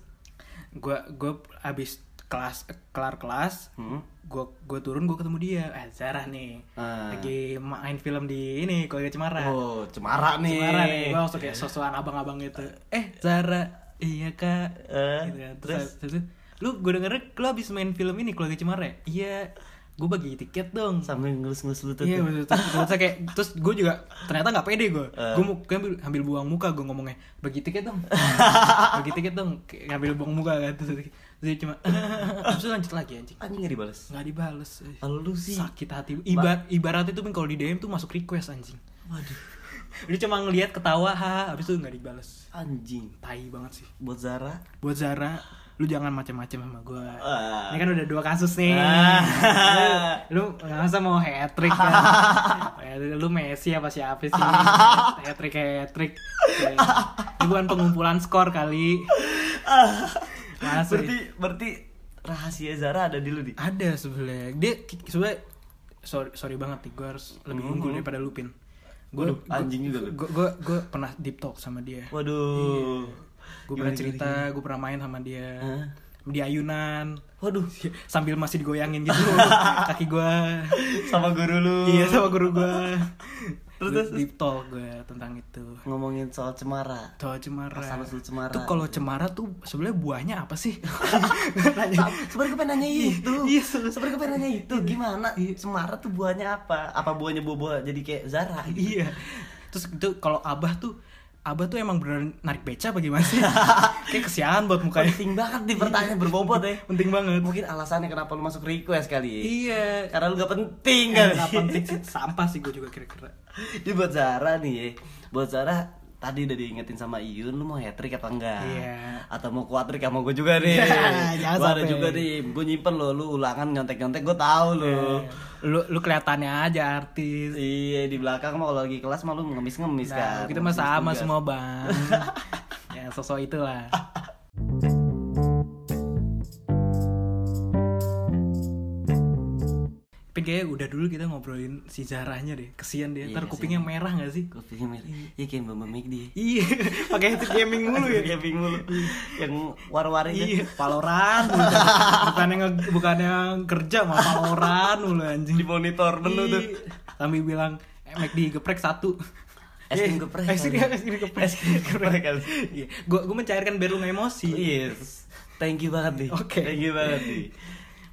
[SPEAKER 1] gue gue abis kelas kelar kelas
[SPEAKER 2] Hmm.
[SPEAKER 1] gue gue turun gue ketemu dia eh Zara nih
[SPEAKER 2] Ah.
[SPEAKER 1] lagi main film di ini keluarga cemara
[SPEAKER 2] Oh, cemara nih.
[SPEAKER 1] Cemara nih, gue ya. langsung kayak sosokan abang-abang gitu iya, Eh Zara, iya kak
[SPEAKER 2] Eh,
[SPEAKER 1] gitu kan. Terus, habis itu, Lu gue denger lu abis main film ini keluarga Cemara ya? Iya, gue bagi tiket dong
[SPEAKER 2] Sambil ngelus-ngelus lutut.
[SPEAKER 1] Iya
[SPEAKER 2] tuh.
[SPEAKER 1] betul terus, terus saya kayak terus gue juga ternyata nggak pede gue
[SPEAKER 2] Eh.
[SPEAKER 1] gue mau gue ambil, ambil buang muka gue ngomongnya bagi tiket [LAUGHS] dong bagi tiket dong Kayak ngambil buang muka kan terus, terus dia cuma terus dia lanjut lagi anjing
[SPEAKER 2] Anjing nggak dibales.
[SPEAKER 1] nggak dibales eh.
[SPEAKER 2] Kalau lu sih.
[SPEAKER 1] sakit hati ibarat ibarat itu kalau di DM tuh masuk request anjing
[SPEAKER 2] Waduh,
[SPEAKER 1] dia cuma ngelihat ketawa ha habis itu nggak dibales
[SPEAKER 2] anjing.
[SPEAKER 1] tai banget sih
[SPEAKER 2] Buat Zara.
[SPEAKER 1] buat Zara lu jangan macem-macem sama gue
[SPEAKER 2] Ah.
[SPEAKER 1] ini kan udah dua kasus nih
[SPEAKER 2] Ah.
[SPEAKER 1] lu nggak usah mau hat trick
[SPEAKER 2] [LAUGHS]
[SPEAKER 1] kan Eh, lu Messi apa siapa sih hat trick hat trick ini bukan pengumpulan skor kali Masih.
[SPEAKER 2] Ah. Berarti berarti rahasia Zara ada di lu di.
[SPEAKER 1] ada sebenarnya dia ki- sebenarnya sorry sorry banget nih gue harus lebih unggul daripada Lupin gue
[SPEAKER 2] Mm-hmm. Waduh, anjing juga lu.
[SPEAKER 1] gue gue pernah deep talk sama dia
[SPEAKER 2] Waduh.
[SPEAKER 1] gue pernah cerita gue pernah main sama dia
[SPEAKER 2] Hah?
[SPEAKER 1] di ayunan
[SPEAKER 2] Waduh,
[SPEAKER 1] [LAUGHS] sambil masih digoyangin
[SPEAKER 2] [LAUGHS]
[SPEAKER 1] gitu kaki gua
[SPEAKER 2] sama guru lu.
[SPEAKER 1] iya sama guru gua
[SPEAKER 2] Terus,
[SPEAKER 1] Gua
[SPEAKER 2] terus, terus.
[SPEAKER 1] deep talk gua tentang itu
[SPEAKER 2] Ngomongin soal cemara.
[SPEAKER 1] soal cemara
[SPEAKER 2] Asal usul cemara.
[SPEAKER 1] tuh kalau cemara tuh sebenarnya buahnya apa
[SPEAKER 2] [LAUGHS]
[SPEAKER 1] sih
[SPEAKER 2] Sa- Sebenernya gue pengen nanya itu
[SPEAKER 1] Iya,
[SPEAKER 2] Sebenernya gue pengen nanya itu Gimana Semara tuh buahnya apa Apa buahnya buah-buah jadi kayak Zara gitu
[SPEAKER 1] iya terus itu kalau abah tuh abah tuh emang beneran narik beca apa gimana
[SPEAKER 2] [LAUGHS]
[SPEAKER 1] sih kayak kesian buat mukanya
[SPEAKER 2] Penting banget di pertanyaan
[SPEAKER 1] Iya.
[SPEAKER 2] berbobot ya
[SPEAKER 1] penting banget
[SPEAKER 2] Mungkin alasannya kenapa lu masuk request kali ya?
[SPEAKER 1] iya
[SPEAKER 2] Karena lu gak penting kali
[SPEAKER 1] Enggak penting sih sampah sih gua juga kira-kira
[SPEAKER 2] Jadi buat Zara nih ya Buat Zara Tadi udah diingetin sama Iyun Lu mau hat-trick apa enggak
[SPEAKER 1] Iya.
[SPEAKER 2] Atau mau quadrik sama gue juga nih
[SPEAKER 1] [LAUGHS] Jangan
[SPEAKER 2] Gue ada
[SPEAKER 1] sampai.
[SPEAKER 2] juga nih Gue nyimpen lo Lu ulangan nyontek-nyontek gue tahu lo
[SPEAKER 1] lu lu kelihatannya aja artis
[SPEAKER 2] Oh. Iya di belakang mah kalau lagi kelas mah lu ngemis-ngemis
[SPEAKER 1] Nah,
[SPEAKER 2] kan
[SPEAKER 1] kita mah
[SPEAKER 2] Ngemis
[SPEAKER 1] sama
[SPEAKER 2] tugas.
[SPEAKER 1] semua
[SPEAKER 2] [LAUGHS]
[SPEAKER 1] bang ya sosok itulah Pin kayaknya udah dulu kita ngobrolin si Zarahnya deh Kesian dia,
[SPEAKER 2] Iya
[SPEAKER 1] ntar
[SPEAKER 2] sih.
[SPEAKER 1] kupingnya merah gak sih?
[SPEAKER 2] Gue pikir mirip Ya kayak Mbak Mik dia [LAUGHS]
[SPEAKER 1] Iya, pakai headset gaming mulu ya
[SPEAKER 2] Gaming mulu Yang war-war
[SPEAKER 1] Iya,
[SPEAKER 2] itu
[SPEAKER 1] [LAUGHS] Valorant mulu. [LAUGHS] Bukannya, nge- bukannya kerja malah Valorant mulu anjing
[SPEAKER 2] Di monitor menu tuh
[SPEAKER 1] Iya. Sambil bilang, eh, McD geprek satu
[SPEAKER 2] [LAUGHS]
[SPEAKER 1] Iya.
[SPEAKER 2] Es krim geprek
[SPEAKER 1] Es krim
[SPEAKER 2] kali. ya.
[SPEAKER 1] es krim geprek
[SPEAKER 2] Es krim
[SPEAKER 1] [LAUGHS]
[SPEAKER 2] geprek kali. Iya,
[SPEAKER 1] Iya, gue gue mencairkan biar lu nggak emosi. Iya.
[SPEAKER 2] Yes Thank you banget nih
[SPEAKER 1] Oke.
[SPEAKER 2] Thank you banget nih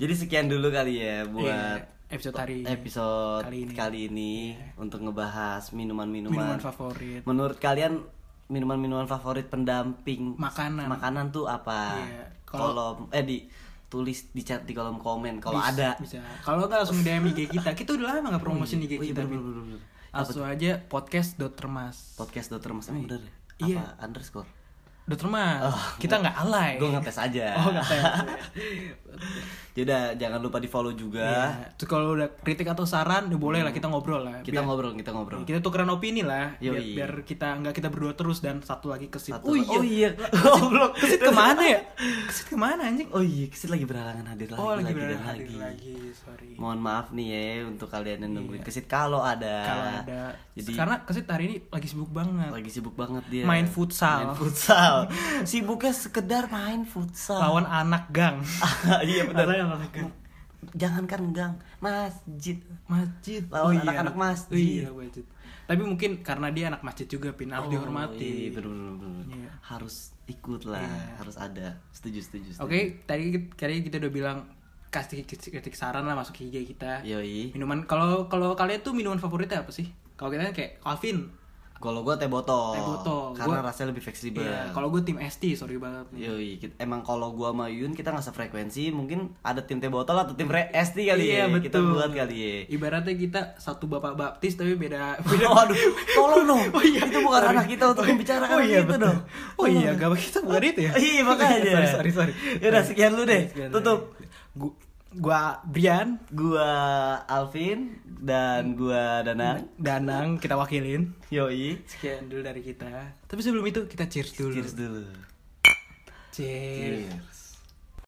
[SPEAKER 2] Jadi sekian dulu kali ya
[SPEAKER 1] Iya,
[SPEAKER 2] buat
[SPEAKER 1] episode hari ini.
[SPEAKER 2] episode
[SPEAKER 1] Iya. Kali
[SPEAKER 2] kali
[SPEAKER 1] ini. Iya.
[SPEAKER 2] ini, untuk ngebahas minuman-minuman.
[SPEAKER 1] minuman favorit.
[SPEAKER 2] Menurut kalian minuman-minuman favorit pendamping
[SPEAKER 1] Makanan.
[SPEAKER 2] makanan tuh apa?
[SPEAKER 1] Iya, kalau-
[SPEAKER 2] Kolom eh di tulis di chat di kolom komen kalau
[SPEAKER 1] Bisa-
[SPEAKER 2] ada.
[SPEAKER 1] Bisa. Kalau nggak langsung DM IG kita. Kita udah lama nggak promosi IG
[SPEAKER 2] Oh iya,
[SPEAKER 1] kita.
[SPEAKER 2] bener,
[SPEAKER 1] Bin.
[SPEAKER 2] bener, bener, bener.
[SPEAKER 1] Langsung aja podcast.termas.
[SPEAKER 2] Podcast dokter Mas emang bener ya?
[SPEAKER 1] Iya.
[SPEAKER 2] Apa underscore? Oh,
[SPEAKER 1] Dot termas. kita nggak alay. [LAUGHS]
[SPEAKER 2] ya. [LAUGHS] Gue ngetes aja.
[SPEAKER 1] Oh, nggak tahu.
[SPEAKER 2] Yaudah, jangan lupa di follow juga.
[SPEAKER 1] Iya. Terus kalau udah kritik atau saran, ya boleh lah kita ngobrol lah.
[SPEAKER 2] Hmm. Kita
[SPEAKER 1] Biar-
[SPEAKER 2] ngobrol, kita ngobrol.
[SPEAKER 1] kita tukeran opini lah biar,
[SPEAKER 2] Yoi.
[SPEAKER 1] biar kita nggak kita berdua terus dan satu lagi kesit
[SPEAKER 2] Satu lagi- oh iya.
[SPEAKER 1] goblok kesit kemana ya kesit kemana anjing
[SPEAKER 2] Oh iya, Kesit lagi berhalangan hadir lagi,
[SPEAKER 1] oh lagi
[SPEAKER 2] lagi,
[SPEAKER 1] berada
[SPEAKER 2] dan
[SPEAKER 1] lagi.
[SPEAKER 2] lagi.
[SPEAKER 1] lagi sorry
[SPEAKER 2] Mohon maaf nih ya untuk kalian yang nungguin Kesit kalau ada.
[SPEAKER 1] kalau ada
[SPEAKER 2] Jadi
[SPEAKER 1] karena kesit hari ini lagi sibuk banget
[SPEAKER 2] lagi sibuk banget dia.
[SPEAKER 1] Main futsal.
[SPEAKER 2] Main
[SPEAKER 1] [LAUGHS]
[SPEAKER 2] futsal. Sibuknya sekedar main futsal.
[SPEAKER 1] lawan anak gang
[SPEAKER 2] [LAUGHS] iya
[SPEAKER 1] Lawan
[SPEAKER 2] benar.
[SPEAKER 1] anak gang
[SPEAKER 2] Jangankan gang, masjid.
[SPEAKER 1] masjid
[SPEAKER 2] Lawan
[SPEAKER 1] iya.
[SPEAKER 2] anak-anak masjid.
[SPEAKER 1] iya masjid tapi mungkin karena dia anak masjid juga pin harus
[SPEAKER 2] Oh, iya,
[SPEAKER 1] dihormati
[SPEAKER 2] bener, bener, bener.
[SPEAKER 1] Iya.
[SPEAKER 2] Harus ikut lah,
[SPEAKER 1] Iya.
[SPEAKER 2] harus ada. Setuju, setuju. setuju.
[SPEAKER 1] oke tadi tadi kita udah bilang kasih kritik saran lah masuk IG kita
[SPEAKER 2] Yoi.
[SPEAKER 1] Minuman kalau kalau kalian tuh minuman favoritnya apa sih? Kalau kita kan kayak Calvin,
[SPEAKER 2] Kalau gua teh botol.
[SPEAKER 1] Teh botol.
[SPEAKER 2] Karena
[SPEAKER 1] Gua-
[SPEAKER 2] rasanya lebih fleksibel.
[SPEAKER 1] Iya, kalau gue tim ST, sorry banget nih.
[SPEAKER 2] Yoi, kita- emang kalau gua sama Yun kita nggak sefrekuensi, mungkin ada tim teh botol atau tim re- ST kali
[SPEAKER 1] Iya,
[SPEAKER 2] ya. Kita buat kali ya.
[SPEAKER 1] Ibaratnya kita satu bapak baptis tapi beda beda.
[SPEAKER 2] [LAUGHS] Waduh, tolong dong.
[SPEAKER 1] [LAUGHS] Oh iya.
[SPEAKER 2] Itu bukan
[SPEAKER 1] Sorry.
[SPEAKER 2] ranah kita untuk
[SPEAKER 1] Oh iya.
[SPEAKER 2] membicarakan
[SPEAKER 1] Oh iya,
[SPEAKER 2] itu
[SPEAKER 1] betul.
[SPEAKER 2] dong.
[SPEAKER 1] Oh iya,
[SPEAKER 2] Tolong.
[SPEAKER 1] gak kita bukan itu ya.
[SPEAKER 2] [LAUGHS] Iya, makanya.
[SPEAKER 1] [LAUGHS] sorry, sorry, sorry.
[SPEAKER 2] Yaudah, sekian dulu deh.
[SPEAKER 1] Sekian
[SPEAKER 2] Tutup.
[SPEAKER 1] Gu- Gua Brian,
[SPEAKER 2] Gua Alvin dan gua Danang.
[SPEAKER 1] Danang kita wakilin.
[SPEAKER 2] Yoi.
[SPEAKER 1] Sekian dulu dari kita. Tapi sebelum itu kita cheers dulu.
[SPEAKER 2] Cheers dulu.
[SPEAKER 1] Cheers.
[SPEAKER 2] Cheers.